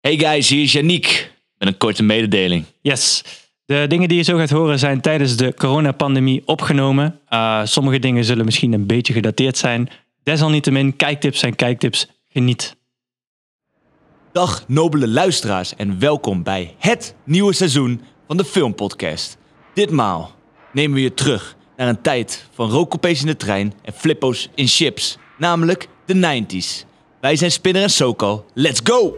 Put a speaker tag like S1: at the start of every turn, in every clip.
S1: Hey guys, hier is Yannick met een korte mededeling.
S2: Yes. De dingen die je zo gaat horen zijn tijdens de coronapandemie opgenomen. Uh, sommige dingen zullen misschien een beetje gedateerd zijn. Desalniettemin, kijktips zijn kijktips. Geniet.
S1: Dag nobele luisteraars en welkom bij het nieuwe seizoen van de Filmpodcast. Ditmaal nemen we je terug naar een tijd van rookcoupés in de trein en flippo's in chips, namelijk de 90s. Wij zijn Spinner en Sokal, let's go!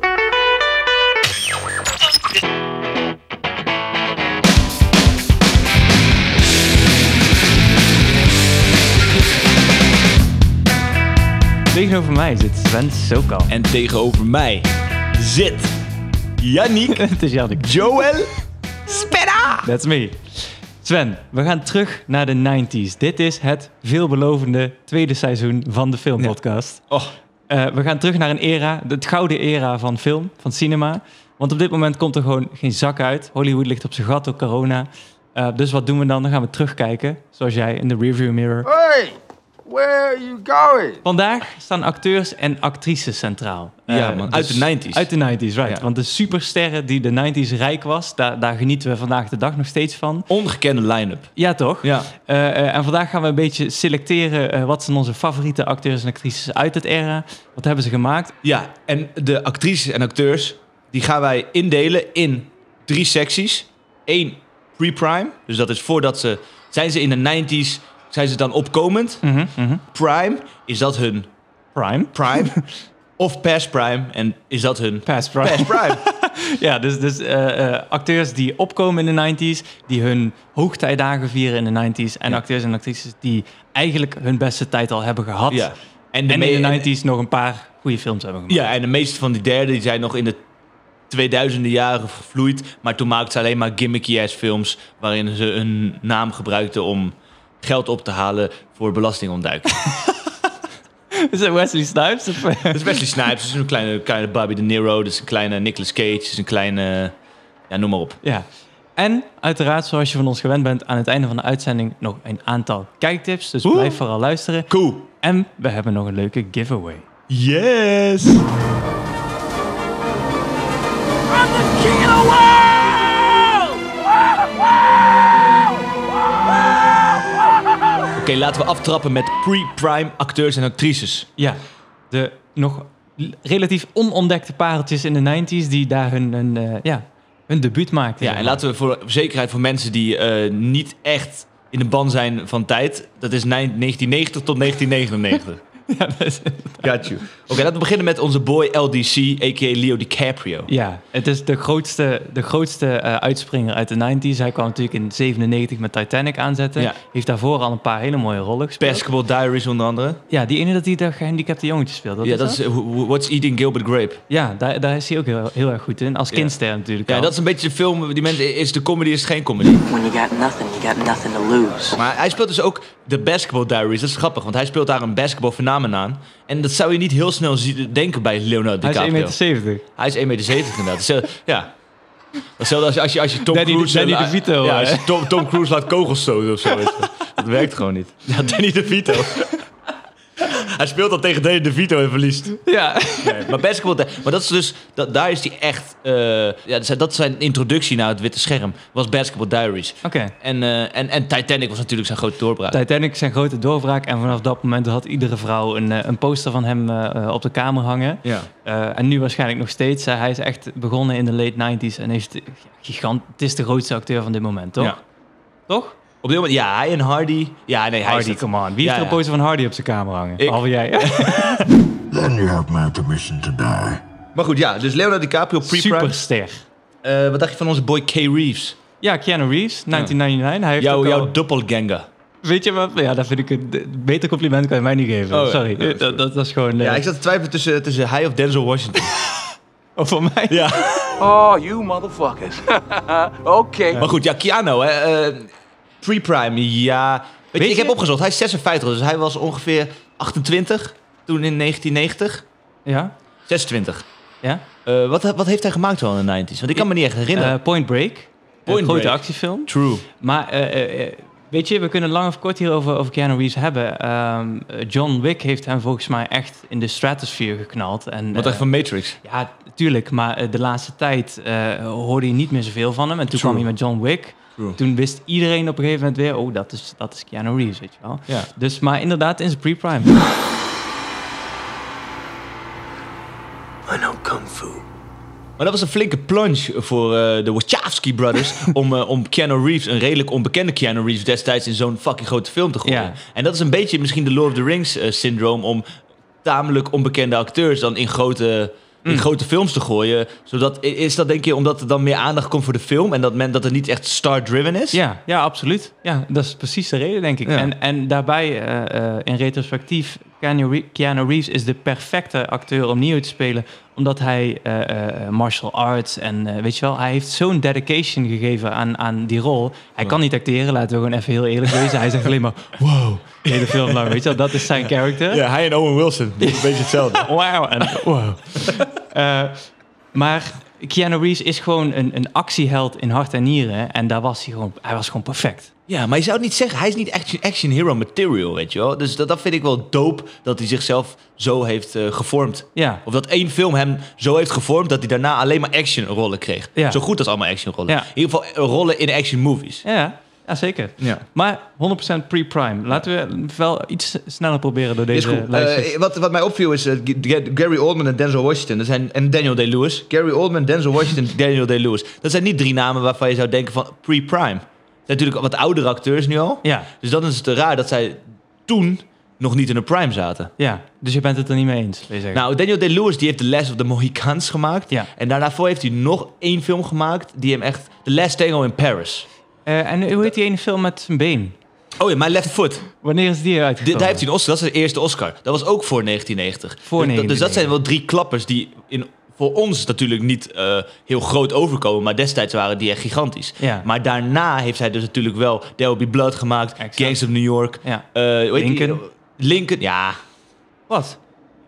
S2: Tegenover mij zit Sven Sokal.
S1: En tegenover mij zit Yannick,
S2: Het is Jannik.
S1: Joel, Spinner!
S2: That's me. Sven, we gaan terug naar de 90s. Dit is het veelbelovende tweede seizoen van de filmpodcast.
S1: Oh,
S2: Eh, we gaan terug naar een era, de gouden era van film, van cinema. Want op dit moment komt er gewoon geen zak uit. Hollywood ligt op zijn gat door corona. Eh, dus wat doen we dan? Dan gaan we terugkijken, zoals jij in de review mirror.
S3: Hey, where are you going?
S2: Vandaag staan acteurs en actrices centraal.
S1: Ja,
S2: Eh,
S1: man, uit de 90s.
S2: Uit de 90s, right.
S1: Ja.
S2: Want de supersterren die de 90s rijk was, daar, daar genieten we vandaag de dag nog steeds van.
S1: ongekende line-up.
S2: Ja, toch?
S1: Ja.
S2: Eh, eh, en vandaag gaan we een beetje selecteren eh, wat zijn onze favoriete acteurs en actrices uit het era. Wat hebben ze gemaakt?
S1: Ja, en de actrices en acteurs, die gaan wij indelen in drie secties. Eén pre-prime, dus dat is voordat ze... Zijn ze in de 90s, zijn ze dan opkomend?
S2: Mhm, mhm.
S1: Prime, is dat hun
S2: Prime.
S1: prime? of past prime, en is dat hun
S2: Past Prime.
S1: past prime?
S2: Ja, dus, dus eh, eh, acteurs die opkomen in de 90s, die hun hoogtijdagen vieren in de 90s. En
S1: Ja.
S2: acteurs en actrices die eigenlijk hun beste tijd al hebben gehad.
S1: ja.
S2: En
S1: me-
S2: in de 90s nog een paar goede films hebben gemaakt.
S1: Ja, en de meeste van die derde die zijn nog in de 2000e jaren gevloeid. Maar toen maakten ze alleen maar gimmicky-ass films... waarin ze hun naam gebruikten om geld op te halen voor belastingontduiking.
S2: Is dat Wesley Snipes? Of,
S1: Dat is Wesley Snipes, dat is een kleine, kleine Bobby De Niro, dat is een kleine Nicolas Cage, dat is een kleine... Ja, noem maar op.
S2: ja. En uiteraard, zoals je van ons gewend bent, aan het einde van de uitzending nog een aantal kijktips. Dus
S1: Oeh.
S2: blijf vooral luisteren.
S1: Cool.
S2: En we hebben nog een leuke giveaway.
S1: Yes!
S3: I'm the king of the world!
S1: Oké, laten we aftrappen met pre-prime acteurs en actrices.
S2: Ja, de nog l- relatief onontdekte pareltjes in de 90s die daar hun, hun, eh, ja, hun debuut maakten.
S1: Ja, en laten we voor zekerheid voor mensen die eh, niet echt in de ban zijn van tijd... Dat is nijn- 1990 tot 1999.
S2: Ja, dat is-
S1: Got you. Oké, laten we beginnen met onze boy LDC, a.k.a. Leo DiCaprio.
S2: ja, het is de grootste, de grootste eh, uitspringer uit de 90s. Hij kwam natuurlijk in 97 met Titanic aanzetten.
S1: Ja.
S2: Heeft daarvoor al een paar hele mooie rollen gespeeld.
S1: Basketball Diaries onder andere.
S2: Ja, die ene dat hij dat gehandicapte jongetje speelt. Wat
S1: ja,
S2: is
S1: dat is eh, Wh- Wh- What's Eating Gilbert Grape.
S2: Ja, daar, daar is hij ook heel, heel erg goed in. Als kindster natuurlijk
S1: Ja,
S2: al.
S1: dat is een beetje de film... Die mensen, is de comedy, is geen comedy.
S4: When you got nothing, you got nothing to lose.
S1: Maar hij speelt dus ook de Basketball Diaries. Dat is grappig, want hij speelt daar een basketbalfenomeen aan. En dat zou je niet heel snel zie- denken bij Leonardo
S2: Hij is
S1: DiCaprio.
S2: 1,70 meter.
S1: Hij is 1,70 meter inderdaad. Hetzelfde- ja. Hetzelfde als, als, je, als je Tom
S2: Danny-
S1: Cruise...
S2: Danny DeVito,
S1: Ja,
S2: hè?
S1: als je Tom, Tom Cruise laat kogels stoten of zo. weet je. Dat werkt gewoon niet. Ja, Danny DeVito. hij speelt dan tegen Danny DeVito en verliest.
S2: Ja.
S1: Maar basketball... Di- Maar dat is dus... Dat, daar is hij echt... eh, ja, dat zijn- dat zijn introductie naar het witte scherm. Was Basketball Diaries.
S2: Oké.
S1: En, eh, en, en Titanic was natuurlijk zijn grote doorbraak.
S2: Titanic zijn grote doorbraak en vanaf dat moment had iedere vrouw een, eh, een poster van hem eh, eh, op de kamer hangen.
S1: Ja.
S2: Eh, en nu waarschijnlijk nog steeds. Eh, hij is echt begonnen in de late 90s en heeft ja, gigant. Het is de grootste acteur van dit moment, toch?
S1: Ja.
S2: Toch?
S1: Op dit moment, ja, hij en Hardy. Ja, nee, hij
S2: Hardy,
S1: is dat-
S2: come on. Wie
S1: Ja,
S2: heeft er
S1: ja.
S2: een poster van Hardy op zijn kamer hangen?
S1: Ik.
S2: Behalve jij.
S5: Then you have my permission to die.
S1: Maar goed, ja, dus Leonardo DiCaprio, pre-prime.
S2: Superster.
S1: Eh, wat dacht je van onze boy K. Reeves?
S2: Ja, Keanu Reeves, 1999. Hij heeft
S1: Jouw,
S2: ook al-
S1: jouw doppelganger.
S2: Weet je wat? Ja, dat vind ik een een beter compliment kan je mij niet geven.
S1: Oh, ja.
S2: sorry.
S1: Ja,
S2: dat, dat was gewoon... eh,
S1: Ja, ik zat te twijfelen tussen, tussen hij of Denzel Washington.
S2: oh, voor mij.
S1: ja.
S6: Oh, you motherfuckers. okay.
S1: Maar goed, ja, Keanu, hè. eh, pre-prime, ja. Weet, je,
S2: Weet
S1: ik
S2: je-
S1: heb opgezocht, hij is 56, dus hij was ongeveer 28 toen in 1990.
S2: Ja?
S1: 26.
S2: Ja?
S1: Eh, wat, wat heeft hij gemaakt wel in de 90s? Want ik kan me niet echt herinneren.
S2: Eh, Point Break.
S1: Point
S2: een grote
S1: Break.
S2: actiefilm.
S1: True.
S2: Maar eh, eh, eh, Weet je, we kunnen lang of kort hierover over Keanu Reeves hebben. Ehm, eh, John Wick heeft hem volgens mij echt in de stratosphere geknald. En,
S1: Wat
S2: eh,
S1: echt van Matrix.
S2: Ja, tuurlijk. Maar eh, de laatste tijd eh, hoorde je niet meer zoveel van hem. En toen
S1: True.
S2: kwam hij met John Wick.
S1: True.
S2: Toen wist iedereen op een gegeven moment weer... oh, dat is, dat is Keanu Reeves, weet je wel.
S1: Ja.
S2: Dus, maar inderdaad, in zijn pre-prime.
S1: Maar dat was een flinke plunge voor eh, de Wachowski Brothers... om, eh, om Keanu Reeves, een redelijk onbekende Keanu Reeves... destijds in zo'n fucking grote film te gooien.
S2: Ja.
S1: En dat is een beetje misschien de Lord of the Rings-syndroom... om tamelijk onbekende acteurs dan in grote, in
S2: Mm.
S1: grote films te gooien. Zodat, i- is dat denk je omdat er dan meer aandacht komt voor de film... en dat, men, dat het niet echt star-driven is?
S2: ja, ja, absoluut. Ja, dat is precies de reden, denk ik.
S1: Ja.
S2: En, en daarbij, eh, eh, in retrospectief... Keanu, Ree- Keanu Reeves is de perfecte acteur om Neo te spelen... omdat hij eh, eh, martial arts en eh, weet je wel... hij heeft zo'n dedication gegeven aan, aan die rol. Hij kan niet acteren, laten we gewoon even heel eerlijk wezen. Hij zegt alleen maar... wow, de hele film lang, weet je wel. Dat is zijn character.
S1: Ja, hij en Owen Wilson. Dat is een beetje hetzelfde.
S2: Wauw. En, wow. Eh, maar Keanu Reeves is gewoon een, een actieheld in hart en nieren. En daar was hij gewoon, hij was gewoon perfect.
S1: Ja, maar je zou het niet zeggen. Hij is niet action, action hero material, weet je wel. Dus dat, dat vind ik wel dope dat hij zichzelf zo heeft eh, gevormd.
S2: Ja.
S1: Of dat één film hem zo heeft gevormd dat hij daarna alleen maar actionrollen kreeg.
S2: Ja.
S1: Zo goed als allemaal actionrollen.
S2: Ja.
S1: In ieder geval eh, rollen in action movies.
S2: Ja, ja zeker.
S1: Ja.
S2: Maar 100% pre-prime. Laten we wel iets sneller proberen door
S1: Is
S2: deze
S1: goed.
S2: lijst.
S1: Eh, wat, wat mij opviel is eh, G- G- Gary Oldman en Denzel Washington. Dat zijn, en Daniel Day-Lewis. Gary Oldman, Denzel Washington, Daniel Day-Lewis. Dat zijn niet drie namen waarvan je zou denken van pre-prime. Dat zijn natuurlijk wat oudere acteurs nu al.
S2: ja,
S1: Dus dan is het raar dat zij toen nog niet in de prime zaten.
S2: ja, dus je bent het er niet mee eens, wil je zeggen.
S1: Nou, Daniel Day-Lewis die heeft The Last of the Mohicans gemaakt.
S2: Ja.
S1: En daarvoor heeft hij nog één film gemaakt die hem echt... The Last Tango in Paris.
S2: Eh, en hoe heet die ene film met zijn been?
S1: Oh ja, My Left Foot.
S2: Wanneer is die
S1: Dit,
S2: uitgekomen?
S1: daar heeft hij een Oscar. Dat is zijn eerste Oscar. Dat was ook voor 1990.
S2: Voor
S1: dus, dat- dus dat
S2: 1990.
S1: zijn wel drie klappers die in, voor ons natuurlijk niet eh, heel groot overkomen. Maar destijds waren die echt gigantisch.
S2: Ja.
S1: Maar daarna heeft hij dus natuurlijk wel There Will Be Blood gemaakt.
S2: Exact.
S1: Gangs of New York.
S2: Ja.
S1: eh, hoe heet die?
S2: Lincoln.
S1: Lincoln, ja.
S2: Wat?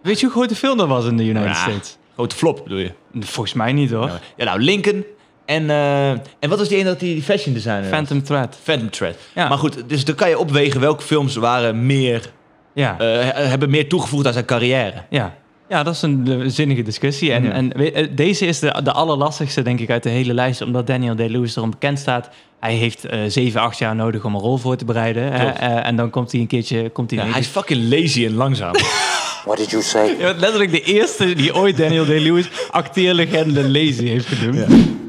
S2: Weet je hoe groot de film dat was in de United
S1: ja.
S2: States?
S1: Grote flop bedoel je.
S2: Volgens mij niet hoor.
S1: Ja, nou, Lincoln. En, eh, en wat was die ene dat die, die fashion designer was?
S2: Phantom Thread.
S1: Phantom Thread.
S2: Ja.
S1: Maar goed, dus dan kan je opwegen welke films waren meer,
S2: Ja.
S1: eh, he- hebben meer toegevoegd aan zijn carrière.
S2: Ja. Ja, dat is een eh, zinnige discussie. En,
S1: Ja.
S2: en we- eh, deze is de, de allerlastigste, denk ik, uit de hele lijst. Omdat Daniel Day-Lewis erom bekend staat. Hij heeft eh, zeven, acht jaar nodig om een rol voor te bereiden. hè.
S1: Klopt.
S2: Eh, en dan komt hij een keertje... Komt hij
S1: Ja,
S2: mee.
S1: hij is fucking lazy en langzaam.
S4: What did you say?
S2: Ja, want letterlijk de eerste die ooit Daniel Day-Lewis acteerlegende lazy heeft genoemd.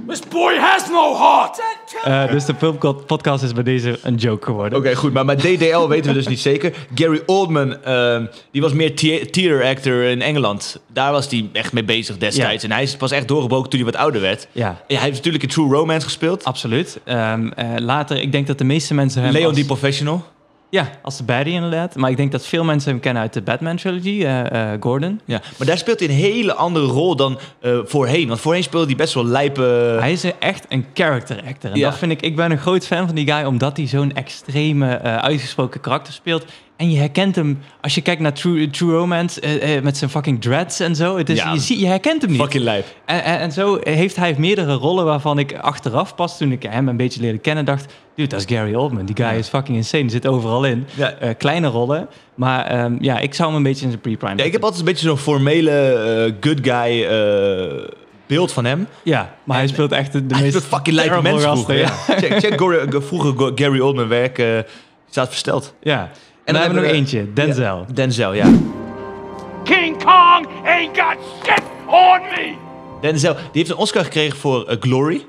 S3: This boy has no heart.
S2: Eh, dus de filmpod- podcast is bij deze een joke geworden.
S1: Oké, goed, maar met DDL weten we dus niet zeker. Gary Oldman, ehm, die was meer thea- theater actor in Engeland. Daar was hij echt mee bezig destijds.
S2: Ja.
S1: En hij is pas echt doorgebroken toen hij wat ouder werd.
S2: Ja.
S1: hij heeft natuurlijk in True Romance gespeeld.
S2: Absoluut. Ehm, eh, later, ik denk dat de meeste mensen hem...
S1: Leon
S2: als-
S1: die Professional.
S2: Ja, als de baddie inderdaad. Maar ik denk dat veel mensen hem kennen uit de Batman-trilogie. eh, eh, Gordon.
S1: Ja, maar daar speelt hij een hele andere rol dan eh, voorheen. Want voorheen speelde hij best wel lijpe...
S2: Hij is echt een character actor. En
S1: Ja.
S2: dat vind ik, ik ben een groot fan van die guy, omdat hij zo'n extreme, eh, uitgesproken karakter speelt. En je herkent hem, als je kijkt naar True, True Romance, eh, eh, met zijn fucking dreads en zo. Het is,
S1: Ja.
S2: je, ziet, je herkent hem niet.
S1: Fucking lijp.
S2: En, en, en zo heeft hij meerdere rollen waarvan ik achteraf pas, toen ik hem een beetje leerde kennen, dacht... Dude, dat is Gary Oldman. Die guy is fucking insane. Die zit overal in.
S1: Ja.
S2: Eh, kleine rollen. Maar ehm, ja, ik zou hem een beetje in zijn pre-prime
S1: Ja, ik heb altijd een beetje zo'n formele eh, good guy eh, beeld van hem.
S2: Ja, maar hij speelt echt de, de
S1: Hij is
S2: meest
S1: een fucking lijpe
S2: terrible
S1: mens
S2: gasten,
S1: vroeger.
S2: ja.
S1: ja. Check, check Gor- Go- vroeger Go- Gary Oldman werk. eh, staat versteld.
S2: Ja. En dan, hebben we nog eentje, Denzel.
S1: Ja, Denzel, ja.
S3: King Kong ain't got shit on me.
S1: Denzel, die heeft een Oscar gekregen voor eh, Glory.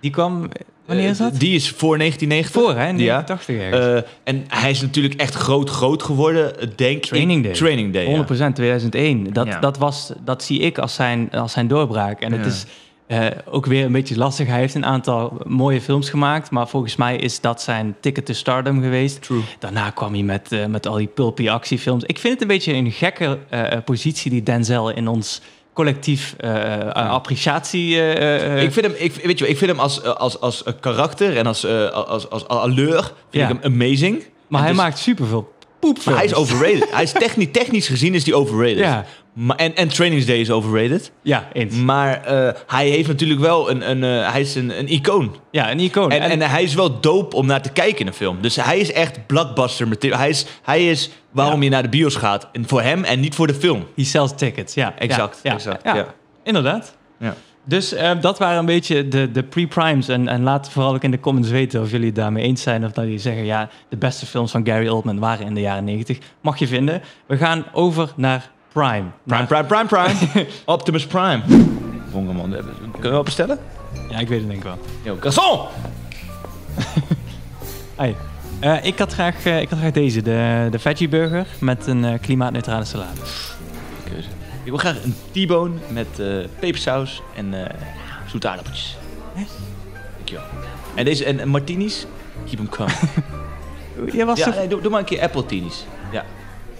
S2: Die kwam. Wanneer is dat?
S1: Die is voor 1990.
S2: Eh, Voor, hè? In
S1: Ja.
S2: 1980 ergens.
S1: Eh, en hij is natuurlijk echt groot, groot geworden, eh, denk
S2: Training
S1: ik.
S2: Day.
S1: Training Day, ja.
S2: 100% 2001. Dat,
S1: Ja.
S2: dat, was, dat zie ik als zijn, als zijn doorbraak. En het
S1: Ja.
S2: is eh, ook weer een beetje lastig. Hij heeft een aantal mooie films gemaakt. Maar volgens mij is dat zijn ticket to stardom geweest.
S1: True.
S2: Daarna kwam hij met, eh, met al die pulpy actiefilms. Ik vind het een beetje een gekke eh, positie die Denzel in ons collectief eh, eh, appreciatie... eh, eh,
S1: Ik vind hem, ik, weet je, wel, ik vind hem als, eh, als, als eh, karakter en als, eh, als, als, als allure vind
S2: Ja.
S1: ik hem amazing.
S2: maar
S1: En
S2: hij
S1: dus-
S2: maakt superveel poepfilms.
S1: Maar hij is overrated. hij is technisch, technisch gezien is hij overrated.
S2: Ja.
S1: Maar, en, en Training Day is overrated.
S2: Ja, eens.
S1: Maar eh, hij heeft natuurlijk wel een, een, eh, hij is een, een icoon.
S2: Ja, een icoon.
S1: En, en, hij is wel dope om naar te kijken in een film. Dus hij is echt blockbuster material. Hij is, hij is waarom je naar de bios gaat. En voor hem en niet voor de film.
S2: He sells tickets, ja.
S1: Exact,
S2: ja, ja,
S1: exact,
S2: ja.
S1: ja.
S2: Inderdaad.
S1: Ja.
S2: Dus eh, dat waren een beetje de, de pre-primes. En, en laat vooral ook in de comments weten of jullie het daarmee eens zijn. Of dat jullie zeggen, ja, de beste films van Gary Oldman waren in de jaren 90. Mag je vinden. We gaan over naar Prime.
S1: Prime,
S2: Naar-
S1: prime, prime, prime. Optimus Prime. Hongerman, eh, kunnen we wel bestellen?
S2: Ja, ik weet het denk ik wel.
S1: Yo, garçon!
S2: Hey. Eh, ik, had graag, eh, ik had graag deze, de, de veggie burger met een eh, klimaatneutrale salade.
S1: Keuze. Ik wil graag een T-bone met eh pepersaus en eh zoete aardappeltjes. Dankjewel. En deze, en, en martinis? Keep them coming.
S2: Jij was
S1: ja,
S2: toch-
S1: nee, doe, doe maar een keer appeltinis. Ja,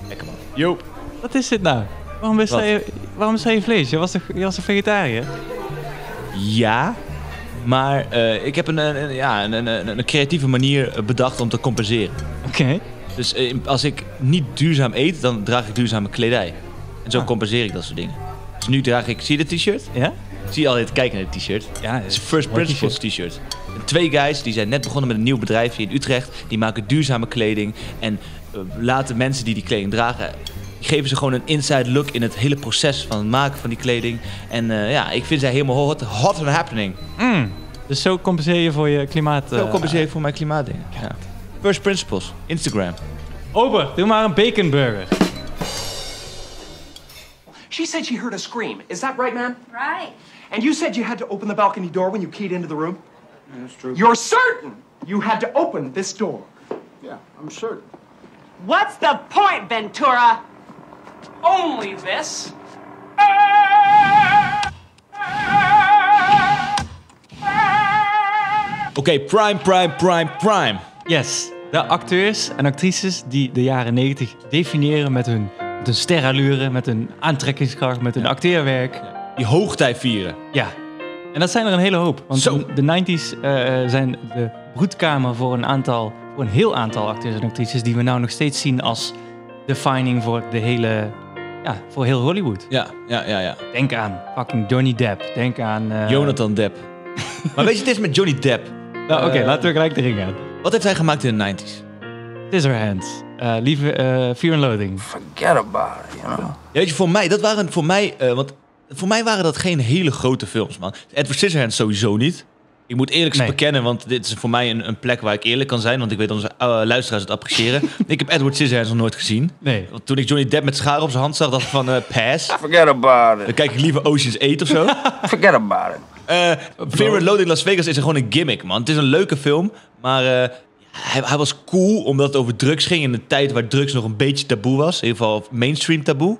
S1: lekker man. Yo.
S2: Wat is dit nou? Waarom bestel
S1: Wat?
S2: je, waarom bestel je vlees? Je was toch, je was toch vegetariër?
S1: Ja, maar eh, ik heb een, een, een- ja, een, een, een- een creatieve manier eh, bedacht om te compenseren.
S2: Oké.
S1: Dus eh, als ik niet duurzaam eet, dan draag ik duurzame kledij. En zo compenseer ik dat soort dingen. Dus nu draag ik, zie je dit t-shirt?
S2: Ja?
S1: Zie je al dit kijken naar dit t-shirt?
S2: Ja,
S1: het is
S2: het
S1: een
S2: is
S1: First
S2: een mooi
S1: Principles t-shirt. En Twee guys die zijn net begonnen met een nieuw bedrijf hier in Utrecht. Die maken duurzame kleding en eh, laten mensen die die kleding dragen... die geven ze gewoon een inside look in het hele proces van het maken van die kleding. En eh, ja, ik vind zij helemaal hot, hot and happening.
S2: Dus zo compenseer je voor je klimaat... eh,
S1: Zo compenseer ik voor mijn klimaatdingen. Ja. First Principles, Instagram.
S2: Ober, doe maar een baconburger.
S7: She said she heard a scream. Is that right, ma'am?
S8: Right.
S7: And you said you had to open the balcony door when you keyed into the room? that's true. You're certain you had to open this door.
S8: What's the point, Ventura? Only this.
S3: Ah!
S1: Oké, prime, prime, prime, prime.
S2: Yes. De acteurs en actrices die de jaren 90 definiëren met hun, met hun sterallure, met hun aantrekkingskracht, met hun acteerwerk. Ja.
S1: Die hoogtij vieren.
S2: En dat zijn er een hele hoop. Want
S1: Zo.
S2: de 90s eh, eh, zijn de broedkamer voor een aantal, voor een heel aantal acteurs en actrices die we nou nog steeds zien als defining voor de hele, ja, voor heel Hollywood.
S1: Ja, ja, ja, ja.
S2: Denk aan fucking Johnny Depp. Denk aan... eh,
S1: Jonathan Depp. maar weet je, het is met Johnny Depp.
S2: Nou, Oké,
S1: eh,
S2: laten we gelijk erin gaan.
S1: Wat heeft hij gemaakt in de 90s?
S2: Scissorhands. Eh lieve eh, Fear and Loathing.
S1: Ja, weet je, voor mij, dat waren voor mij, eh, want voor mij waren dat geen hele grote films, man. Edward Scissorhands sowieso niet. Ik moet eerlijk
S2: Nee.
S1: bekennen, want dit is voor mij een, een plek waar ik eerlijk kan zijn, want ik weet onze eh, luisteraars het appreciëren. ik heb Edward Scissorhands nog nooit gezien.
S2: Nee.
S1: Want toen ik Johnny Depp met schaar op zijn hand zag, dacht ik van eh, pass. Forget about it. Dan kijk ik liever Ocean's 8 of zo. Forget about it. Eh, Fear and Loathing Las Vegas is gewoon een gimmick, man. Het is een leuke film, maar eh, hij, hij was cool omdat het over drugs ging in een tijd waar drugs nog een beetje taboe was. In ieder geval mainstream taboe.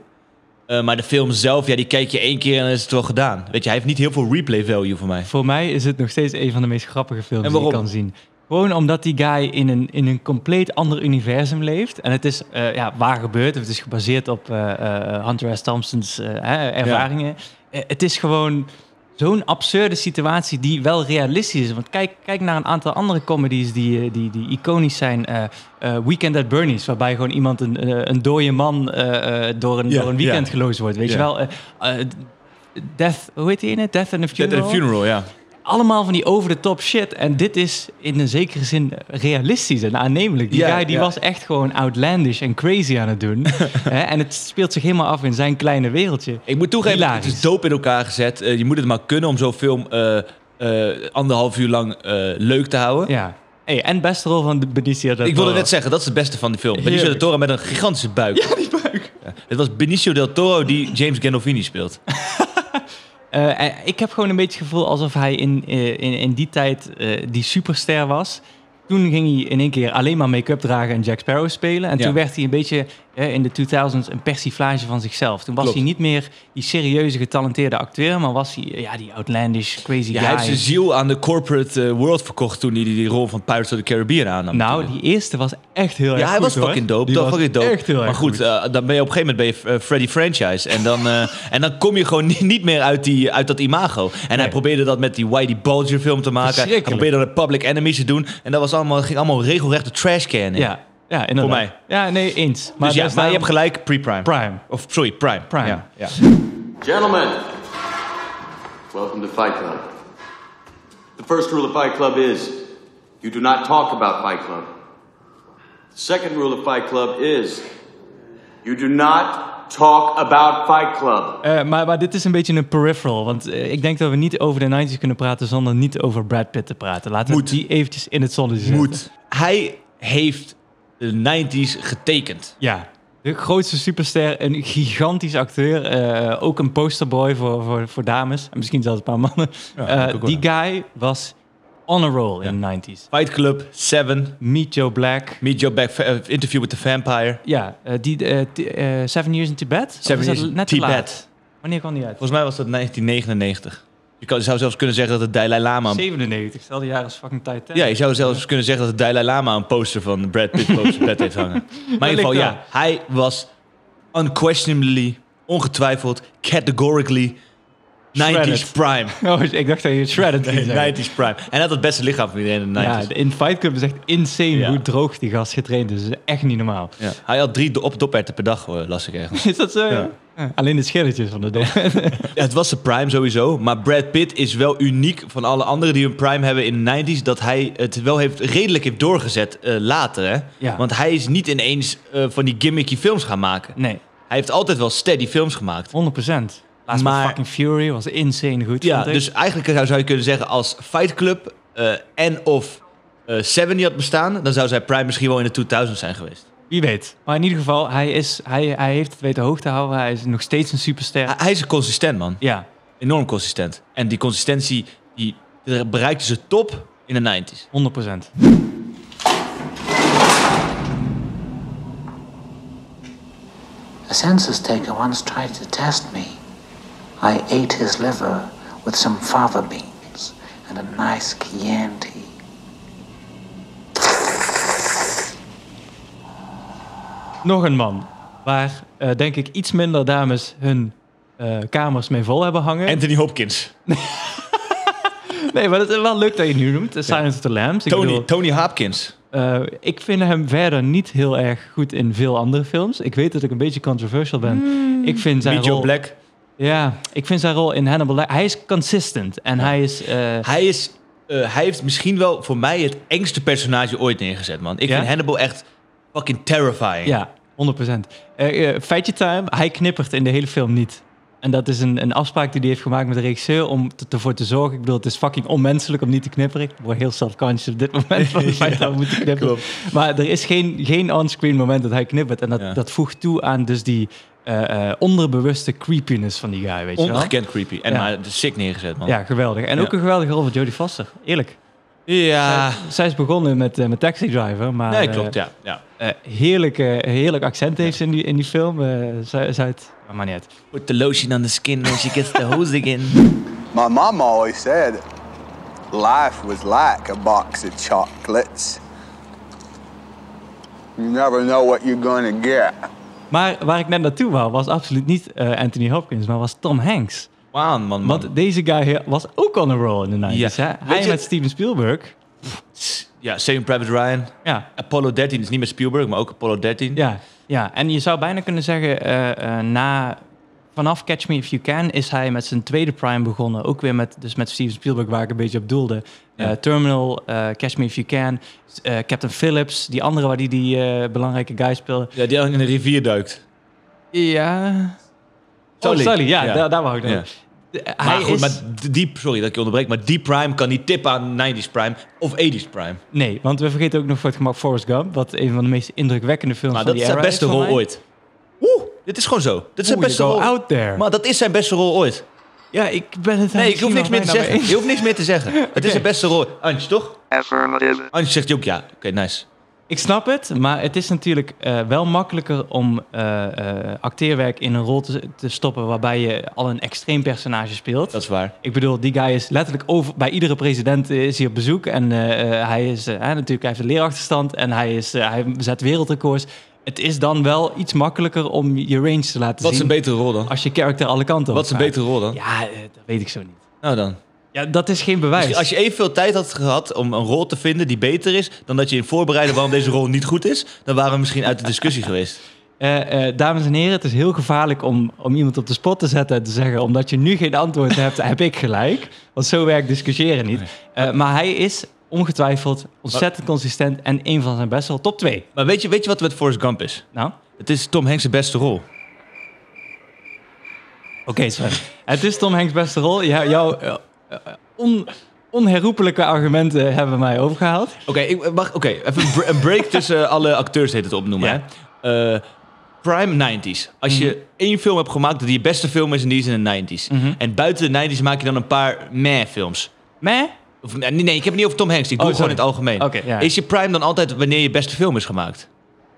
S1: Eh, maar de film zelf, ja, die kijk je één keer en dan is het wel gedaan. Weet je, hij heeft niet heel veel replay value voor mij.
S2: Voor mij is het nog steeds een van de meest grappige films
S1: En
S2: die je
S1: waarom?
S2: kan zien. Gewoon omdat die guy in een, in een compleet ander universum leeft. En het is eh, ja, waar gebeurd. Het is gebaseerd op eh, eh, Hunter S. Thompson's eh, hè, ervaringen. Eh, het is gewoon zo'n absurde situatie die wel realistisch is. Want kijk, kijk naar een aantal andere comedies die, eh, die, die iconisch zijn. Eh, eh, Weekend at Bernie's, waarbij gewoon iemand een, eh, een dode man eh, eh, door, een,
S1: Ja,
S2: door een weekend
S1: ja.
S2: geloosd wordt. Weet
S1: Ja.
S2: je wel? Eh, eh, Death, hoe heet die ene? Death and a
S1: Dead at a Funeral, ja.
S2: allemaal van die over-the-top shit. En dit is in een zekere zin realistisch en aannemelijk. Die
S1: Ja,
S2: guy die
S1: ja.
S2: was echt gewoon outlandish en crazy aan het doen. Hè, en het speelt zich helemaal af in zijn kleine wereldje.
S1: Ik moet toegeven,
S2: Hilarisch.
S1: het is doop in elkaar gezet. Eh, je moet het maar kunnen om zo'n film eh, eh, anderhalf uur lang eh, leuk te houden.
S2: Ja. Hey, en beste rol van de Benicio del
S1: Ik wilde
S2: Toro.
S1: net zeggen, dat is het beste van die film. Benicio del
S2: Heerlijk.
S1: Toro met een gigantische buik. Ja, die buik. Het was Benicio del Toro die James Gandolfini speelt.
S2: Eh, en ik heb gewoon een beetje het gevoel alsof hij in, eh, in, in die tijd eh, die superster was. Toen ging hij in één keer alleen maar make-up dragen en Jack Sparrow spelen. En
S1: Ja.
S2: toen werd hij een beetje eh, in de 2000s een persiflage van zichzelf. Toen was
S1: Klopt.
S2: hij niet meer die serieuze, getalenteerde acteur, maar was hij eh, ja, die outlandish, crazy
S1: Ja,
S2: guy.
S1: hij heeft zijn ziel aan de corporate eh, world verkocht toen hij die, die rol van Pirates of the Caribbean aannam.
S2: nou, die eerste was echt heel erg
S1: ja, hij
S2: goed,
S1: was
S2: hoor.
S1: fucking dope.
S2: Die
S1: dat
S2: was
S1: fucking dope.
S2: echt heel erg
S1: maar goed, eh, dan ben je op een gegeven moment ben je eh, Freddy Franchise. En dan, eh, en dan kom je gewoon niet, niet meer uit, die, uit dat imago. En hij probeerde dat met die Whitey Bulger film te maken. Hij
S2: Verschrikkelijk.
S1: probeerde dat met Public Enemies te doen. En dat was allemaal, ging allemaal regelrechte trash
S2: Ja. Ja, inderdaad.
S1: eh, Voor mij.
S2: Ja, nee, eens. Maar,
S1: Dus ja, maar
S2: daar
S1: je
S2: staan-
S1: hebt gelijk, pre-prime.
S2: Prime.
S1: Of sorry, prime.
S2: Prime.
S1: Ja, ja.
S9: Gentlemen, welcome to Fight Club. The first rule of Fight Club is you do not talk about Fight Club. The second rule of Fight Club is you do not talk about Fight Club.
S2: Eh, maar, maar dit is een beetje een peripheral. Want eh, ik denk dat we niet over de 90s kunnen praten zonder niet over Brad Pitt te praten. Laten
S1: Moet.
S2: we die eventjes in het zonnetje zetten.
S1: Moet. Hij heeft de 90s getekend.
S2: Ja. De grootste superster, een gigantisch acteur. eh, ook een posterboy voor, voor, voor dames. En misschien zelfs een paar mannen.
S1: dat
S2: Eh,
S1: ook wel,
S2: die guy was on a roll in de 90s.
S1: Fight Club, Seven,
S2: Meet Joe Black.
S1: Meet Joe Back, eh, Interview with the Vampire.
S2: Ja, eh, die, eh, t- eh, Seven Years in Tibet? Of
S1: Seven
S2: is dat
S1: Years in
S2: net te laat?
S1: Tibet.
S2: Wanneer kwam die uit?
S1: Volgens mij was dat 1999. Je kan- zou zelfs kunnen zeggen dat het Dalai Lama...
S2: 97, stel die jaren is fucking tijd.
S1: Ja, je zou zelfs kunnen zeggen dat het Dalai Lama een poster van Brad Pitt boven zijn bed heeft hangen. Maar in ieder geval,
S2: Wellicht
S1: ja, hij was unquestionably, ongetwijfeld, categorically 90s
S2: Shredded.
S1: prime.
S2: Oh, ik dacht dat je het shredded ging zeggen.
S1: 90s prime. En hij had het beste lichaam van iedereen in de 90s.
S2: Ja, in Fight Club is echt insane
S1: Ja.
S2: hoe droog die gast getraind is. Dat is echt niet normaal.
S1: Ja. Hij had drie do- op doperten per dag, hoor, las ik ergens.
S2: Is dat zo? Ja. Alleen de schilletjes van de dop.
S1: Ja, het was zijn prime sowieso, maar Brad Pitt is wel uniek van alle anderen die hun prime hebben in de 90s, dat hij het wel heeft, redelijk heeft doorgezet eh, later. Hè?
S2: Ja.
S1: Want hij is niet ineens eh, van die gimmicky films gaan maken.
S2: Nee, 100%.
S1: Hij heeft altijd wel steady films gemaakt.
S2: Laatst maar...
S1: Maar-
S2: fucking Fury was insane goed.
S1: Ja,
S2: vond ik.
S1: dus eigenlijk zou, zou je kunnen zeggen als Fight Club eh, en of eh Seven die had bestaan, dan zou zijn prime misschien wel in de 2000 zijn geweest.
S2: wie weet. Maar in ieder geval, hij, is, hij, hij heeft het weten hoog te houden. Hij is nog steeds een superster.
S1: Hij, hij is consistent man,
S2: Ja,
S1: enorm consistent. En die consistentie die bereikte zijn top in de 90s.
S2: 100%.
S4: A census taker once tried to test me. I ate his liver with some fava beans and a nice Chianti.
S2: Nog een man waar, eh, denk ik, iets minder dames hun eh, kamers mee vol hebben hangen.
S1: Anthony Hopkins.
S2: Nee, maar het is wel leuk dat je het nu noemt. The Silence of the Lambs. Ik
S1: Tony,
S2: bedoel,
S1: Tony Hopkins.
S2: Eh, ik vind hem verder niet heel erg goed in veel andere films. Ik weet dat ik een beetje controversial ben. ik vind zijn
S1: Meet Joe
S2: rol,
S1: Black.
S2: Ja, ik vind zijn rol in Hannibal. Lec- Hij is consistent en hij is. eh,
S1: Hij, is, eh, hij heeft misschien wel voor mij het engste personage ooit neergezet, man. Ik
S2: Ja?
S1: vind Hannibal echt fucking terrifying.
S2: ja, 100 Eh, eh, feitje time. Hij knippert in de hele film niet. En dat is een, een afspraak die hij heeft gemaakt met de regisseur om te- ervoor te zorgen. Ik bedoel, het is fucking onmenselijk om niet te knipperen. Ik word heel self-conscious op dit moment van het feit dat we moeten knipperen. Maar er is geen, geen on-screen moment dat hij knippert. En dat,
S1: Ja.
S2: dat voegt toe aan dus die eh, eh, onderbewuste creepiness van die guy, weet je wel?
S1: Ongekend creepy. En
S2: Ja.
S1: maar sick neergezet, man.
S2: Ja, geweldig. En
S1: Ja.
S2: ook een geweldige rol van Jodie Foster, eerlijk.
S1: Ja.
S2: Zij is begonnen met, eh, met Taxi Driver, maar
S1: Nee,
S2: eh,
S1: klopt, ja. ja.
S2: eh, heerlijk, eh, heerlijk accent heeft ze in die, in die film. eh, Zu- Zuid... Maar niet uit.
S1: Put the lotion on the skin when she gets the hose again.
S10: My mom always said life was like a box of chocolates. You never know what you're gonna get.
S2: Maar waar ik net naartoe wou, was absoluut niet eh, Anthony Hopkins, maar was Tom Hanks.
S1: Waan, man, man.
S2: Want deze guy he- was ook on a roll in de 90s.
S1: Ja.
S2: Hè?
S1: Weet
S2: Hij
S1: je-
S2: met Steven Spielberg.
S1: Ja, Saving Private Ryan.
S2: Ja,
S1: Apollo 13 is niet meer Spielberg, maar ook Apollo 13.
S2: ja, ja. En je zou bijna kunnen zeggen, eh, eh, na, vanaf Catch Me If You Can is hij met zijn tweede prime begonnen. Ook weer met, dus met Steven Spielberg, waar ik een beetje op doelde. Eh, Terminal, eh, Catch Me If You Can, eh, Captain Phillips, die andere waar die, die eh, belangrijke guy speelde.
S1: Ja, die in de rivier duikt.
S2: Ja. Sully.
S1: Sully.
S2: Sully, Oh, ja,
S1: Ja.
S2: daar, daar wou ik dan.
S1: Ja.
S2: Hij
S1: Maar goed,
S2: is...
S1: maar d- die, sorry dat ik je onderbreek, maar die prime kan niet tippen aan 90s prime of 80s prime.
S2: Nee, want we vergeten ook nog voor het gemak Forrest Gump, wat een van de meest indrukwekkende films
S1: Maar
S2: van
S1: Nou, dat
S2: die
S1: is zijn
S2: era
S1: beste
S2: is
S1: rol
S2: voor mij.
S1: ooit. Oeh, dit is gewoon zo. Dit is zijn
S2: Oeh, you
S1: beste
S2: go
S1: rol.
S2: out there.
S1: Maar dat is zijn beste rol ooit.
S2: Ja, ik ben het daar
S1: Nee, ik hoef niks
S2: misschien wel
S1: meer te
S2: bijna mee
S1: zeggen.
S2: eens.
S1: Je hoeft niks meer te zeggen. Het is zijn beste rol. Antje, toch? Antje zegt ook ja. Oké, nice.
S2: Ik snap het, maar het is natuurlijk eh, wel makkelijker om eh, eh, acteerwerk in een rol te, te stoppen waarbij je al een extreem personage speelt.
S1: Dat is waar.
S2: Ik bedoel, die guy is letterlijk over, bij iedere president eh, is hij op bezoek en eh, eh, hij is eh, hè, natuurlijk hij heeft een leerachterstand en hij, is, eh, hij zet wereldrecords. Het is dan wel iets makkelijker om je range te laten
S1: Wat is
S2: zien
S1: een betere rol dan?
S2: als je character alle kanten op
S1: Wat is een
S2: gaat.
S1: betere rol dan?
S2: Ja, eh, dat weet ik zo niet.
S1: Nou dan.
S2: Ja, dat is geen bewijs.
S1: Als je evenveel tijd had gehad om een rol te vinden die beter is... dan dat je in voorbereiden waarom deze rol niet goed is... dan waren we misschien uit de discussie geweest.
S2: Eh, eh, dames en heren, het is heel gevaarlijk om, om iemand op de spot te zetten en te zeggen... omdat je nu geen antwoord hebt, heb ik gelijk. Want zo werkt discussiëren niet. Eh, maar hij is ongetwijfeld ontzettend consistent en een van zijn beste, wel top 2.
S1: Maar weet je, weet je wat met Forrest Gump is?
S2: Nou,
S1: Het is Tom Hanks' beste rol.
S2: oké Sven. Het is Tom Hanks' beste rol. Ja, jouw eh, eh, on, onherroepelijke argumenten hebben mij overgehaald.
S1: Oké, ik mag. Oké, even een, br- een break tussen alle acteurs heet het opnoemen.
S2: Ja. Mhm.
S1: hè. Eh, prime 90s. Als je één film hebt gemaakt dat die je beste film is en die is in de 90s. En buiten de 90s maak je dan een paar meh films.
S2: Meh?
S1: Of, nee, nee, ik heb het niet over Tom Hanks. Ik doe
S2: Oh,
S1: het gewoon in
S2: sorry.
S1: het algemeen.
S2: Oké, ja.
S1: Is je prime dan altijd wanneer je beste film is gemaakt?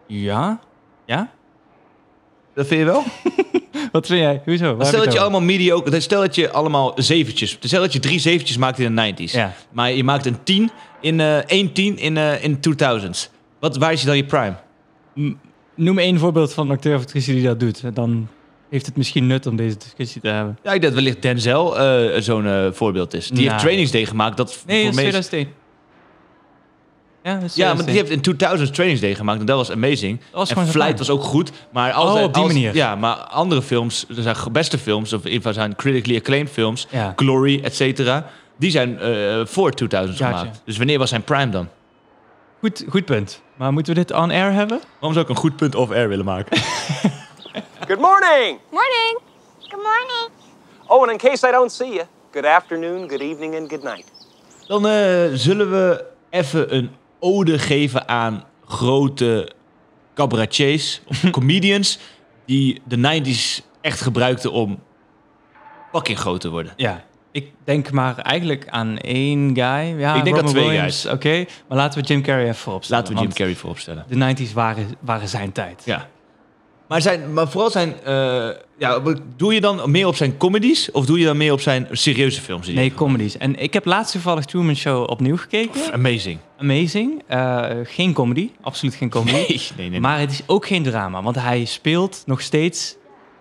S2: Ja. Ja?
S1: Dat vind je wel?
S2: Wat vind jij? Hoezo? Waar heb
S1: Stel dat
S2: het
S1: je
S2: over?
S1: allemaal mediocre... Stel dat je allemaal zeventjes... Stel dat je drie zeventjes maakt in de 90s.
S2: Ja.
S1: Maar je maakt een tien in... eh één tien in, eh in 2000s. Wat, waar is dan je prime?
S2: Noem één voorbeeld van een acteur of actrice die dat doet. Dan heeft het misschien nut om deze discussie te hebben.
S1: Ja, ik denk dat wellicht Denzel eh, zo'n eh, voorbeeld is. Die heeft
S2: Nou.
S1: Trainings Day gemaakt. Dat
S2: Nee, dat
S1: voor
S2: is
S1: meest-
S2: 2001. Ja, dat is
S1: Ja, maar die
S2: 2001.
S1: heeft in 2000 Trainings Day gemaakt. En dat was amazing.
S2: was
S1: en
S2: gewoon zijn
S1: Flight was ook goed. Maar altijd,
S2: op die
S1: als-
S2: manier.
S1: Ja, maar andere films, er zijn beste films, of in ieder geval zijn critically acclaimed films,
S2: Ja.
S1: Glory, et cetera. Die zijn eh, voor 2000
S2: Gotcha.
S1: gemaakt. Dus wanneer was zijn prime dan?
S2: Goed, goed punt. Maar moeten we dit on-air hebben?
S1: Waarom zou ik een goed punt off-air willen maken?
S11: Good morning!
S12: Morning. Good morning.
S11: Oh, and in case I don't see you, good afternoon, good evening, and good night.
S1: Dan eh, zullen we even een ode geven aan grote cabaretiers of comedians die de 90s echt gebruikten om fucking groot te worden.
S2: Ja. Ik denk maar eigenlijk aan één guy. Ja,
S1: Ik denk aan
S2: Robin
S1: twee
S2: Williams. Oké, maar laten we Jim Carrey even voorop stellen.
S1: Dus Laten we Jim Carrey vooropstellen.
S2: Carrey... De 90s waren, waren zijn tijd.
S1: Ja. Maar, zijn, maar vooral zijn... eh, ja, doe je dan meer op zijn comedies of doe je dan meer op zijn serieuze films? die hij
S2: Nee, comedies. En ik heb laatst toevallig Truman Show opnieuw gekeken.
S1: heeft? Amazing.
S2: Amazing. Eh, geen comedy. Absoluut geen comedy.
S1: Nee, nee, nee.
S2: Maar het is ook geen drama, want hij speelt nog steeds